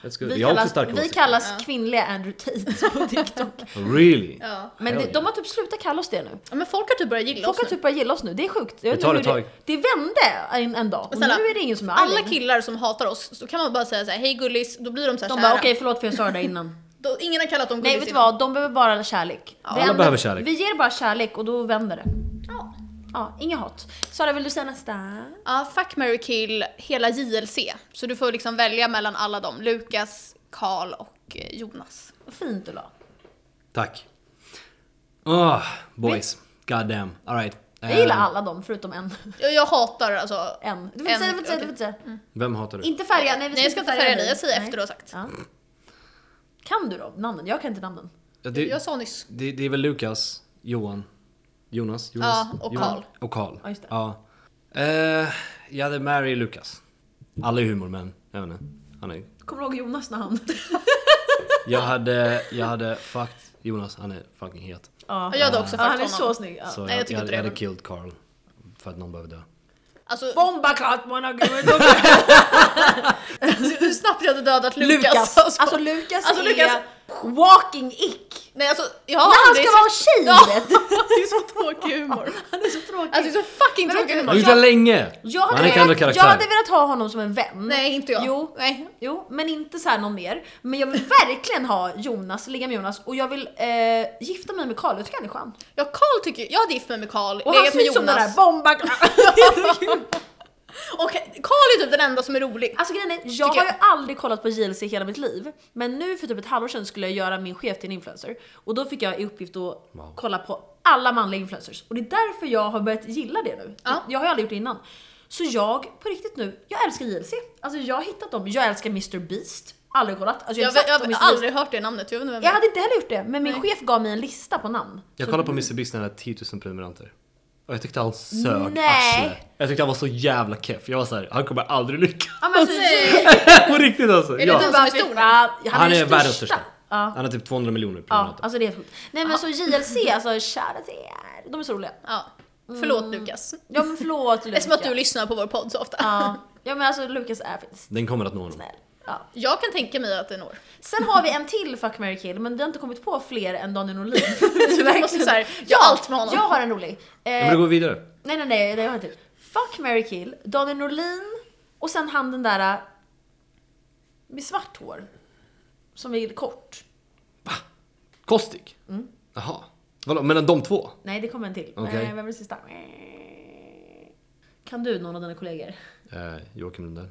Speaker 2: That's good.
Speaker 3: Vi
Speaker 2: jag har också
Speaker 3: kallas,
Speaker 2: starka
Speaker 3: vi
Speaker 2: åsikter. Oh,
Speaker 3: kallas kvinnliga Andrew Tate på TikTok.
Speaker 2: Really?
Speaker 1: Ja.
Speaker 3: Men
Speaker 2: Hell
Speaker 3: det,
Speaker 2: yeah.
Speaker 3: de har typ slutat kalla oss det nu.
Speaker 1: ja men folk har typ börjat gilla
Speaker 3: Folk har
Speaker 1: oss nu.
Speaker 3: typ börjat gilla oss nu, det är sjukt. Jag vet
Speaker 2: Det tar
Speaker 3: inte
Speaker 2: ett
Speaker 3: hur Det det vände en, en dag och
Speaker 1: snälla,
Speaker 3: nu är det ingen som är arg
Speaker 1: Alla
Speaker 3: längre.
Speaker 1: killar som hatar oss, så kan man bara säga så här, hej gullis, då blir de så här
Speaker 3: De
Speaker 1: kära.
Speaker 3: bara okej förlåt för jag sa det där innan.
Speaker 1: Då, ingen har kallat dem gullis
Speaker 3: Nej vet du
Speaker 1: innan.
Speaker 3: vad, de behöver bara kärlek. Det
Speaker 2: alla
Speaker 3: enda-
Speaker 2: behöver kärlek.
Speaker 3: Vi ger bara kärlek och då vänder det.
Speaker 1: Ja.
Speaker 3: Ja, inget hat. Sara vill du säga nästa?
Speaker 1: Ja, fuck, marry, kill hela JLC. Så du får liksom välja mellan alla dem. Lukas, Karl och eh, Jonas.
Speaker 3: Vad fint du la.
Speaker 2: Tack. Oh, boys. God damn. All right.
Speaker 1: Eh.
Speaker 3: Jag gillar
Speaker 2: Ehm,
Speaker 3: alla dem förutom en.
Speaker 1: Jag, jag hatar alltså...
Speaker 3: en. Du får
Speaker 1: En,
Speaker 3: inte säga, du får inte säga,
Speaker 1: okej.
Speaker 3: du får inte säga.
Speaker 2: Vem hatar du?
Speaker 3: Inte färga, nej vi
Speaker 1: Nej jag ska inte färga dig, jag säger
Speaker 3: Nej.
Speaker 1: efter du har sagt.
Speaker 3: Ja. Kan du då namnen? Jag kan inte namnen.
Speaker 2: Ja, det,
Speaker 1: Jag sa nyss.
Speaker 2: det, det är väl Lukas, Johan, Jonas, Jonas
Speaker 1: Ja, och
Speaker 2: Johan.
Speaker 1: Karl.
Speaker 2: Och Karl.
Speaker 3: Ja, just det.
Speaker 2: Ja. Eh, jag hade Mary Lukas. Alla är humor men, jag vet inte. Han är
Speaker 3: Kommer du ihåg Jonas namn?
Speaker 2: Jag hade, jag hade fucked Jonas, han är fucking het.
Speaker 3: ja.
Speaker 1: Och jag hade också
Speaker 3: Ja,
Speaker 1: fuckat
Speaker 3: han är
Speaker 1: honom.
Speaker 3: så snygg. Ja.
Speaker 2: Så
Speaker 1: Nej,
Speaker 2: jag,
Speaker 1: jag tycker
Speaker 2: jag,
Speaker 1: inte
Speaker 2: jag
Speaker 1: det.
Speaker 2: hade killed Carl för att någon behöver dö.
Speaker 1: Alltså,
Speaker 3: Bomba klart måna gud!
Speaker 1: hur snabbt jag hade dödat Lukas.
Speaker 3: Lukas! Alltså Lukas
Speaker 1: Alltså,
Speaker 3: är
Speaker 1: Lukas-
Speaker 3: walking ick!
Speaker 1: Nej alltså, jag har
Speaker 3: När han
Speaker 1: aldrig
Speaker 3: ska vara tjej! vet du.
Speaker 1: Ja, det är så tråkig humor.
Speaker 3: Han är så tråkig.
Speaker 1: Alltså det är så fucking
Speaker 3: Men
Speaker 1: tråkig
Speaker 3: okej,
Speaker 1: humor.
Speaker 2: Och
Speaker 3: men-
Speaker 2: inte länge!
Speaker 3: jag, hade
Speaker 2: Han är inte ändå
Speaker 3: velat, jag hade
Speaker 2: karaktär.
Speaker 3: velat ha honom som en vän.
Speaker 1: Nej, inte jag.
Speaker 3: Jo.
Speaker 1: Nej.
Speaker 3: Jo, men inte så här någon mer. Men jag vill verkligen ha Jonas, ligga med Jonas och jag vill eh, gifta mig med Karl. Jag tycker han är skön.
Speaker 1: Ja, Karl tycker jag hade gift mig med Karl,
Speaker 3: Och han
Speaker 1: legat
Speaker 3: ser
Speaker 1: med
Speaker 3: ut som den där
Speaker 1: Jonas.
Speaker 3: bomba...
Speaker 1: Och Karl är typ den enda som är rolig.
Speaker 3: Alltså grejen är, jag
Speaker 1: Tycker
Speaker 3: har
Speaker 1: jag.
Speaker 3: ju aldrig kollat på JLC i hela mitt liv. Men nu för typ ett halvår sedan skulle jag göra min chef till en influencer. Och då fick jag i uppgift att
Speaker 2: Wow.
Speaker 3: kolla på alla manliga influencers. Och det är därför jag har börjat gilla det nu.
Speaker 1: Ja.
Speaker 3: Jag har ju aldrig gjort det innan. Så jag, på riktigt nu, jag älskar JLC. Alltså jag har hittat dem. Jag älskar Mr Beast. Aldrig kollat. Alltså jag,
Speaker 1: Jag,
Speaker 3: har
Speaker 1: jag,
Speaker 3: jag,
Speaker 1: har aldrig hört det namnet, jag vet inte vem det
Speaker 3: jag
Speaker 1: är.
Speaker 3: hade inte heller gjort det, men min chef gav mig en lista på namn.
Speaker 2: Jag kollade på Mr Beast när han hade 10 000 prenumeranter. Och jag tyckte han sög
Speaker 3: Nej.
Speaker 2: arsle. Jag tyckte han var så jävla keff. Jag var såhär, han kommer aldrig lyckas.
Speaker 3: Ja, men så,
Speaker 1: Nej.
Speaker 2: På riktigt alltså.
Speaker 1: Är det
Speaker 2: Ja.
Speaker 1: den-
Speaker 3: bara,
Speaker 1: Han är
Speaker 3: fy
Speaker 1: stor.
Speaker 3: fan,
Speaker 2: Han är
Speaker 3: den
Speaker 2: världens största.
Speaker 3: Ja.
Speaker 2: Han har typ 200 miljoner
Speaker 3: Ja,
Speaker 2: prenumeranter.
Speaker 3: alltså det är helt sjukt. Nej men så JLC, alltså kära till er. De är så roliga.
Speaker 1: Ja. Förlåt
Speaker 3: Mm.
Speaker 1: Lukas.
Speaker 3: Ja men förlåt
Speaker 1: Det är
Speaker 3: Lukas.
Speaker 1: som att du lyssnar på vår podd så ofta.
Speaker 3: ja. ja men alltså Lukas är faktiskt
Speaker 2: Den kommer att nå honom.
Speaker 3: snäll. Ja.
Speaker 1: Jag kan tänka mig att det är når.
Speaker 3: Sen har vi en till Fuck, marry, kill men vi har inte kommit på fler än Daniel Norlin.
Speaker 1: Vi måste så här, jag har allt med honom.
Speaker 3: Jag har en rolig. Eh,
Speaker 2: Ja, men då går vi vidare.
Speaker 3: Nej nej nej, nej, jag har en till. Fuck, marry, kill, Daniel Norlin och sen han den där eh, med svart hår. Som är kort.
Speaker 2: Kostik? Jaha. Vadå, mellan de två?
Speaker 3: Nej det kommer en till.
Speaker 2: Okej.
Speaker 3: Eh, vem är sista? Kan du någon av dina kollegor?
Speaker 2: Eh, Joakim Lundell.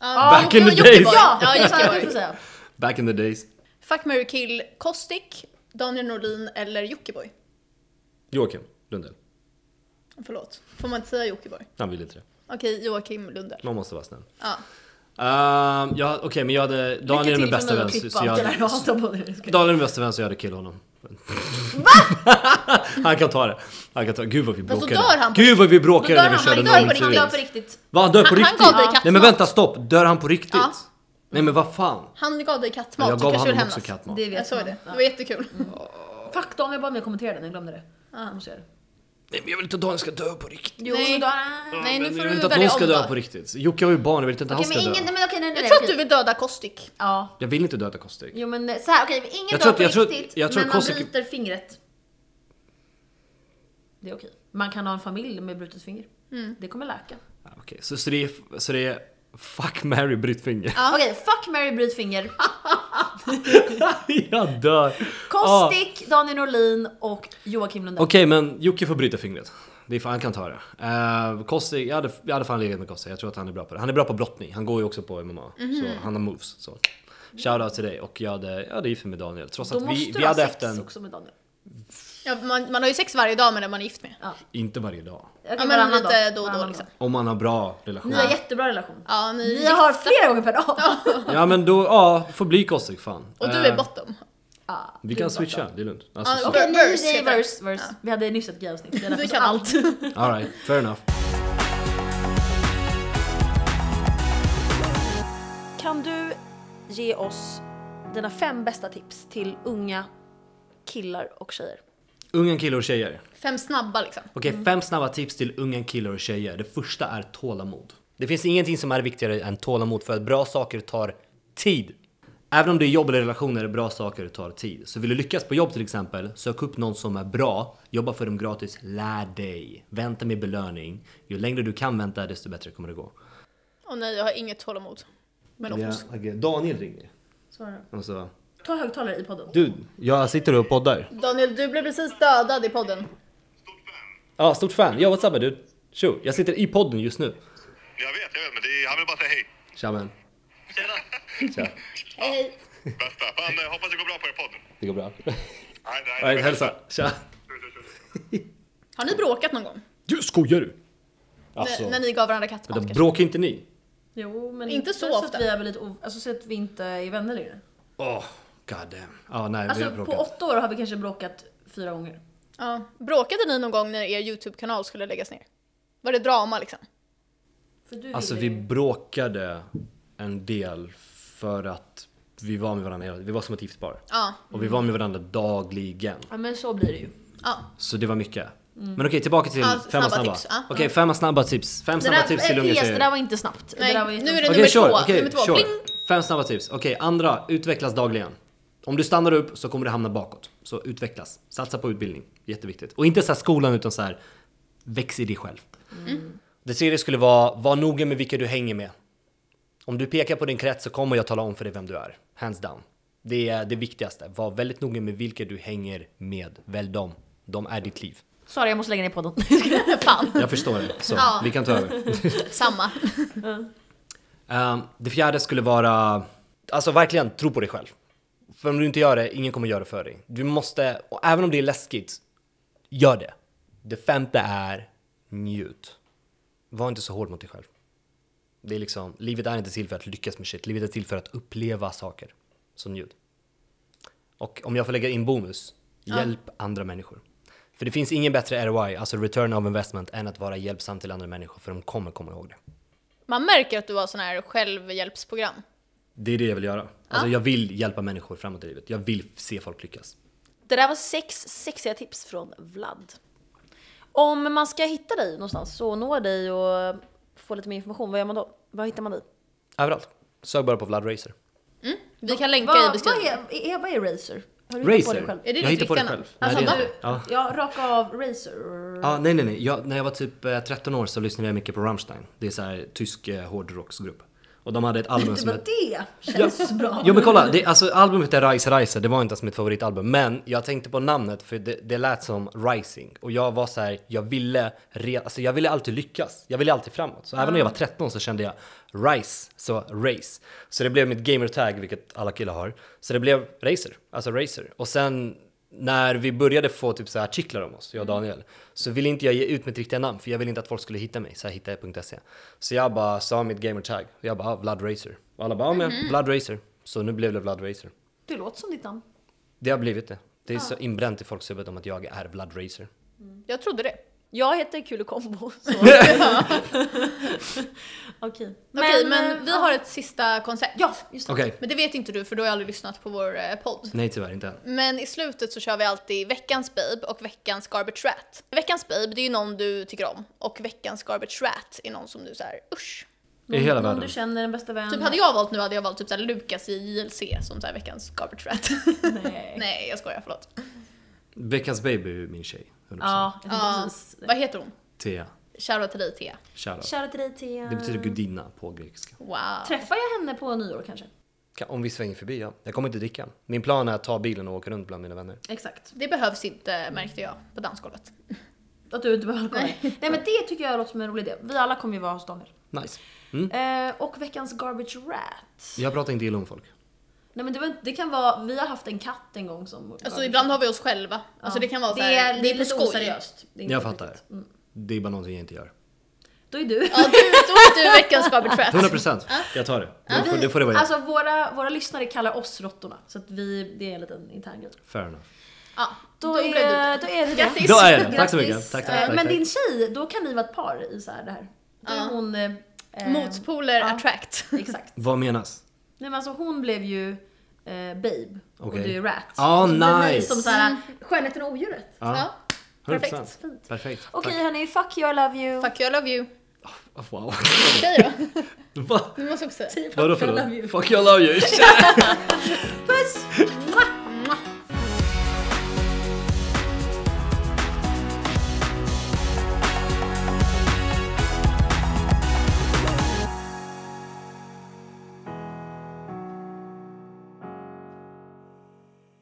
Speaker 1: Ja,
Speaker 2: Back in the
Speaker 1: Jockiboi.
Speaker 2: days.
Speaker 1: Ja,
Speaker 3: Ja, just det, du får
Speaker 1: Jockiboi.
Speaker 3: säga.
Speaker 2: Back in the days.
Speaker 1: Fuck, marry, kill Kostik, Daniel Norlin eller Jockiboi.
Speaker 2: Joakim Lundell.
Speaker 1: Förlåt, får man inte säga Jockiboi?
Speaker 2: Han vill inte det.
Speaker 1: Okej, Joakim Lundell.
Speaker 2: Man måste vara snäll.
Speaker 1: Ja.
Speaker 2: Ehm, ja, Okej, men jag hade... Daniel är min bästa vän. Så så jag
Speaker 3: hade...
Speaker 2: hade, Daniel är min bästa vän så jag hade kill honom. han kan ta det. Han kan ta Gud vad vi
Speaker 1: då
Speaker 2: bråkade.
Speaker 1: dör han på-
Speaker 2: Gud vad vi
Speaker 1: Då
Speaker 2: bråkade
Speaker 1: dör
Speaker 2: när vi
Speaker 1: han-
Speaker 2: körde
Speaker 1: han dör på
Speaker 2: nollturen.
Speaker 1: riktigt.
Speaker 3: Jag på riktigt.
Speaker 2: Va, han dör på
Speaker 1: Han- han
Speaker 2: riktigt?
Speaker 1: gav dig kattmat.
Speaker 2: Nej men vänta, stopp. Dör han på riktigt?
Speaker 1: Ja.
Speaker 2: Nej men vad fan.
Speaker 1: Han gav dig kattmat,
Speaker 2: Jag
Speaker 1: du
Speaker 2: gav
Speaker 1: kanske vill
Speaker 2: honom också
Speaker 1: hämnas.
Speaker 2: kattmat.
Speaker 3: Det
Speaker 1: Jag
Speaker 3: vet
Speaker 1: såg
Speaker 3: man.
Speaker 1: det, det
Speaker 3: Ja.
Speaker 1: var jättekul.
Speaker 3: Fuck dem, jag bad mig kommentera den, jag glömde det.
Speaker 1: Ah,
Speaker 3: Jag måste göra det.
Speaker 2: Nej men jag vill inte att Daniel ska dö på riktigt.
Speaker 3: Jo,
Speaker 1: Nej. Ah,
Speaker 3: så då-
Speaker 1: Nej, nu
Speaker 2: Men
Speaker 1: får
Speaker 2: jag vill
Speaker 1: du
Speaker 2: inte att
Speaker 1: välja
Speaker 2: någon ska
Speaker 1: om
Speaker 2: dö
Speaker 1: då.
Speaker 2: på riktigt. Jocke har ju barn, jag vill inte att han
Speaker 3: Okej,
Speaker 2: ska
Speaker 3: men ingen,
Speaker 2: dö.
Speaker 3: nej, men okej, nej, nej,
Speaker 1: Jag
Speaker 3: nej,
Speaker 1: tror att du
Speaker 3: okej.
Speaker 1: vill döda Kostik.
Speaker 3: Ja.
Speaker 2: Jag vill inte döda Kostig.
Speaker 3: Jo men eh, så här, okej, ingen
Speaker 2: Jag tror
Speaker 3: jag dör
Speaker 2: att-
Speaker 3: på
Speaker 2: jag tror-
Speaker 3: riktigt,
Speaker 2: jag tror
Speaker 3: men man
Speaker 2: Kosek-
Speaker 3: bryter fingret. Det är okej. Man kan ha en familj med brutet finger.
Speaker 1: Mm.
Speaker 3: Det kommer läka.
Speaker 2: Ja, Okej, så, så, det är, så det är fuck, Mary bryt finger.
Speaker 1: Ja.
Speaker 3: Okej, fuck, Mary bryt finger.
Speaker 2: Ah. jag dör. Ah. Okej
Speaker 3: Kostik, Daniel Norlin och Joakim Lundell.
Speaker 2: men Jocke får bryta fingret. Det är fan, han kan ta det. Uh, Kostig, jag hade, jag hade fan legat med Kostig. Jag tror att han är bra på det. Han är bra på brottning. Han går ju också på MMA.
Speaker 3: Mhm.
Speaker 2: Så han har moves. Så. Shoutout till dig. Och jag hade, jag hade gift mig med Daniel. Trots
Speaker 3: Då
Speaker 2: att
Speaker 3: måste
Speaker 2: vi,
Speaker 3: du
Speaker 2: vi
Speaker 3: ha
Speaker 2: hade
Speaker 3: sex
Speaker 2: haft en...
Speaker 3: också med Daniel.
Speaker 1: Ja, man, man har ju sex varje dag med den man är gift med.
Speaker 2: Inte varje dag.
Speaker 3: Okej,
Speaker 1: Ja, men
Speaker 3: varannan
Speaker 1: lite
Speaker 3: dag.
Speaker 1: då och då
Speaker 3: Varannan
Speaker 1: liksom.
Speaker 3: dag.
Speaker 2: Om man har bra
Speaker 3: Ni
Speaker 2: relation.
Speaker 3: har jättebra relation.
Speaker 1: Ja, ni,
Speaker 3: Ni har flera gånger per dag.
Speaker 2: Ja men då, ja, får bli Kostig fan.
Speaker 1: Och du
Speaker 2: Eh,
Speaker 1: är bottom.
Speaker 3: Ja,
Speaker 2: Vi
Speaker 3: det är
Speaker 2: kan
Speaker 3: bra.
Speaker 2: switcha, det är lugnt. Alltså,
Speaker 1: Ja,
Speaker 2: så-
Speaker 3: Okej,
Speaker 1: Verse
Speaker 3: ni säger
Speaker 1: heter det.
Speaker 3: verse, verse. Vi hade nyss ett gayavsnitt. Vi hade
Speaker 1: Vi
Speaker 3: fått
Speaker 1: kan
Speaker 3: allt.
Speaker 2: All right, fair enough.
Speaker 3: Kan du ge oss dina fem bästa tips till unga killar och tjejer?
Speaker 2: Unga killar och tjejer.
Speaker 1: Fem snabba liksom.
Speaker 2: Okej, fem snabba tips till unga killar och tjejer. Det första är tålamod. Det finns ingenting som är viktigare än tålamod för att bra saker tar tid. Även om det är jobb eller relationer, bra saker tar tid. Så vill du lyckas på jobb till exempel, sök upp någon som är bra, jobba för dem gratis, lär dig. Vänta med belöning. Ju längre du kan vänta, desto bättre kommer det gå.
Speaker 1: Och nej, jag har inget tålamod. Men de får
Speaker 2: Daniel ringer. Alltså,
Speaker 3: Svara.
Speaker 2: Och så,
Speaker 3: Ta högtalare i podden.
Speaker 2: du, jag sitter och poddar.
Speaker 1: Daniel, du blev precis dödad i podden.
Speaker 2: Ja, stort fan. Ja, what's up du? Tjo, jag sitter i podden just nu.
Speaker 4: Jag vet, jag vet, men det är, han vill bara säga hej.
Speaker 2: Tja men. Tja.
Speaker 1: Hej, hej.
Speaker 4: Bästa. Fan, jag hoppas det går bra på er podd.
Speaker 2: Det går bra.
Speaker 4: Nej, nej,
Speaker 2: Nej, hälsa. Tja.
Speaker 1: Har ni bråkat nån gång?
Speaker 2: Du, skojar du? Alltså.
Speaker 1: När, när ni gav varandra kattmat
Speaker 2: Vänta,
Speaker 1: kanske?
Speaker 2: bråkar inte ni?
Speaker 3: Jo, men
Speaker 1: Inte så
Speaker 3: så
Speaker 1: ofta.
Speaker 3: Att vi är väl lite o- alltså, så att vi inte är vänner längre.
Speaker 2: Åh, oh, god damn. Ja, nej, vi har
Speaker 3: Alltså på
Speaker 2: bråkat.
Speaker 3: åtta år har vi kanske bråkat fyra gånger.
Speaker 1: Ja. Bråkade ni någon gång när er YouTube-kanal skulle läggas ner? Var det drama liksom?
Speaker 3: För du
Speaker 2: Alltså
Speaker 3: ville
Speaker 2: vi
Speaker 3: ju-
Speaker 2: bråkade en del för att vi var med varandra hela Vi var som ett gift par.
Speaker 1: Ja.
Speaker 2: Och vi var med varandra dagligen.
Speaker 3: Ja men så blir det ju.
Speaker 1: ja.
Speaker 2: Så det var mycket. Men okej, tillbaka till
Speaker 1: Mm. Ja,
Speaker 2: femma
Speaker 1: snabba
Speaker 2: snabba.
Speaker 1: tips, ja.
Speaker 2: Okej, femma snabba tips. Fem snabba tips till
Speaker 3: eh,
Speaker 2: unga
Speaker 3: PS,
Speaker 2: tjejer.
Speaker 3: det där var inte snabbt.
Speaker 1: Nej,
Speaker 3: det där var ju
Speaker 1: nu är det
Speaker 2: Okej,
Speaker 1: nummer
Speaker 2: kör,
Speaker 1: två.
Speaker 2: okej,
Speaker 1: nummer två.
Speaker 2: kör.
Speaker 1: Pling.
Speaker 2: Fem snabba tips. Okej, andra. Utvecklas dagligen. Om du stannar upp så kommer du hamna bakåt. Så utvecklas. Satsa på utbildning. Jätteviktigt. Och inte så här skolan utan så här väx i dig själv. Det tredje skulle vara, var noga med vilka du hänger med. Om du pekar på din krets så kommer jag tala om för dig vem du är. Hands down. Det är det viktigaste. Var väldigt noga med vilka du hänger med. Välj dem. De är ditt liv.
Speaker 3: Sorry, jag måste lägga ner podden.
Speaker 1: Fan,
Speaker 2: Jag förstår det. Så,
Speaker 1: Ja.
Speaker 2: vi kan ta över.
Speaker 1: samma.
Speaker 2: Ehm, det fjärde skulle vara, alltså verkligen tro på dig själv. För om du inte gör det, ingen kommer göra det för dig. Du måste, och även om det är läskigt, gör det. Det femte är, njut. Var inte så hård mot dig själv. Det är liksom, livet är inte till för att lyckas med shit, livet är till för att uppleva saker. Så njut. Och om jag får lägga in bonus, hjälp andra människor. För det finns ingen bättre ROI, alltså return of investment, än att vara hjälpsam till andra människor, för de kommer komma ihåg det.
Speaker 1: Man märker att du har sån här självhjälpsprogram.
Speaker 2: Det är det jag vill göra. Alltså jag vill hjälpa människor framåt i livet. Jag vill se folk lyckas.
Speaker 3: Det där var sex sexiga tips från Vlad. Om man ska hitta dig någonstans och nå dig och få lite mer information, vad gör man då? Vad hittar man dig?
Speaker 2: Överallt. Sök bara på Vlad Racer.
Speaker 1: Vi kan länka i
Speaker 3: Vad, vad,
Speaker 1: beskrivningen.
Speaker 3: är, är, vad är Racer? Har du hittat på det
Speaker 2: Racer?
Speaker 3: själv?
Speaker 1: Är det
Speaker 2: jag
Speaker 1: ditt
Speaker 2: hittar på det
Speaker 1: riktiga
Speaker 2: själv.
Speaker 1: namn?
Speaker 2: Nej,
Speaker 1: Alltså,
Speaker 2: det är
Speaker 1: va?
Speaker 2: det. Ja.
Speaker 3: Ja, raka av Racer.
Speaker 2: Ja, nej, nej, nej. Jag, när jag var typ eh, 13 år så lyssnade jag mycket på Rammstein. Det är så här tysk eh, hårdrocksgrupp. Och de hade ett album
Speaker 3: Det
Speaker 2: som...
Speaker 3: var
Speaker 2: hette-
Speaker 3: Typ det! Känns bra.
Speaker 2: Jo men kolla, det, alltså albumet är Rise Riser, det var inte ens mitt favoritalbum. Men jag tänkte på namnet för det, det lät som Rising. Och jag var så här, jag ville, re, alltså jag ville alltid lyckas. Jag ville alltid framåt. Så även när jag var 13 så kände jag Rise, så race. Så det blev mitt gamertag, vilket alla killar har. Så det blev Racer, alltså Racer. Och sen när vi började få typ så här artiklar om oss, jag och
Speaker 3: Mm.
Speaker 2: Daniel, så ville inte jag ge ut mitt riktiga namn för jag ville inte att folk skulle hitta mig, så här hittade.se. Så jag bara sa mitt gamertag, och jag bara ah, Vlad Racer. Och alla bara, ja men
Speaker 3: Mm.
Speaker 2: Vlad Racer. Så nu blev det Vlad Racer.
Speaker 3: Det låter som ditt namn.
Speaker 2: Det har blivit det. Det är så inbränt i folks huvud om att jag är Vlad Racer.
Speaker 1: Jag trodde det.
Speaker 3: Jag heter Kulekombo. så- Okej.
Speaker 1: Okej, men
Speaker 3: eh,
Speaker 1: vi har ett sista koncept.
Speaker 3: Ja, just det.
Speaker 2: Okej.
Speaker 1: Men det vet inte du för du har aldrig lyssnat på vår eh, podd.
Speaker 2: Nej tyvärr inte än.
Speaker 1: Men i slutet så kör vi alltid veckans babe och veckans garbage rat. Veckans babe, det är ju någon du tycker om. Och veckans garbage rat är någon som du såhär, usch.
Speaker 2: I hela
Speaker 3: någon
Speaker 2: världen.
Speaker 3: Mm, du känner, en bästa vän.
Speaker 1: Typ hade jag valt nu hade jag valt typ såhär Lukas i JLC som såhär veckans garbage rat.
Speaker 3: Nej.
Speaker 1: Nej, jag skojar, förlåt.
Speaker 2: Veckans baby är ju min tjej. 100%.
Speaker 3: Ja, jag tänkte
Speaker 1: Ja,
Speaker 3: precis.
Speaker 1: vad heter hon?
Speaker 2: Thea.
Speaker 1: Shoutout till dig Thea.
Speaker 2: Kära.
Speaker 3: Shoutout till dig Thea.
Speaker 2: Det betyder gudinna på grekiska.
Speaker 1: Wow.
Speaker 3: Träffar jag henne på nyår kanske?
Speaker 2: Ka- Om vi svänger förbi ja. Jag kommer inte dricka. Min plan är att ta bilen och åka runt bland mina vänner.
Speaker 3: Exakt.
Speaker 1: Det behövs inte märkte jag på dansgolvet.
Speaker 3: Att du inte behöver kolla. Nej. Nej men det tycker jag låter som en rolig idé. Vi alla kommer ju vara hos Daniel.
Speaker 2: Nice. Mm.
Speaker 3: Eh, och veckans garbage rat.
Speaker 2: Jag pratar inte illa om folk.
Speaker 3: Nej men det, var inte, det kan vara, vi har haft en katt en gång som...
Speaker 1: Alltså ibland har vi oss själva. Alltså det kan vara
Speaker 3: det,
Speaker 1: såhär,
Speaker 3: är, det är
Speaker 1: på
Speaker 3: lite
Speaker 1: skoj.
Speaker 3: oseriöst. Det är inte
Speaker 2: Jag
Speaker 3: riktigt. Mm.
Speaker 2: fattar. Det är bara någonting jag inte gör.
Speaker 3: Då är du.
Speaker 1: Ja, du, då är du veckans garbage rat.
Speaker 2: 100 procent. Jag tar det. Det får det, får det vara
Speaker 3: Alltså våra, våra lyssnare kallar oss råttorna. Så att vi, det är en liten intern grej.
Speaker 2: Fair enough.
Speaker 1: Ja,
Speaker 3: Då,
Speaker 1: då,
Speaker 3: är,
Speaker 1: blev du
Speaker 3: då är det det.
Speaker 1: Grattis!
Speaker 2: Då är jag det. Tack så mycket.
Speaker 3: Grattis.
Speaker 2: Tack,
Speaker 3: Eh,
Speaker 2: tack, tack,
Speaker 3: Men
Speaker 2: tack.
Speaker 3: din tjej, då kan ni vara ett par i så här det här. Då är
Speaker 1: Ja.
Speaker 3: hon... Eh, eh,
Speaker 1: Motpoler
Speaker 3: ja.
Speaker 1: attract.
Speaker 3: Exakt.
Speaker 2: Vad menas?
Speaker 3: Nej men alltså hon blev ju eh, babe och
Speaker 2: Okej.
Speaker 3: du är rat.
Speaker 2: Ah,
Speaker 3: Så det blir mig
Speaker 2: nice.
Speaker 3: Som såhär, skönheten och odjuret.
Speaker 1: Ja.
Speaker 2: Ja, 100
Speaker 1: perfekt.
Speaker 2: procent.
Speaker 3: Fint.
Speaker 2: Perfekt.
Speaker 3: Okej
Speaker 2: Tack.
Speaker 3: hörni, fuck you, I love you.
Speaker 1: Fuck you, I love you.
Speaker 2: Oh, wow.
Speaker 1: Säg då.
Speaker 2: Va?
Speaker 1: Du måste också säga.
Speaker 2: Vadå för något? Fuck you, I love you.
Speaker 3: Puss! Mwah!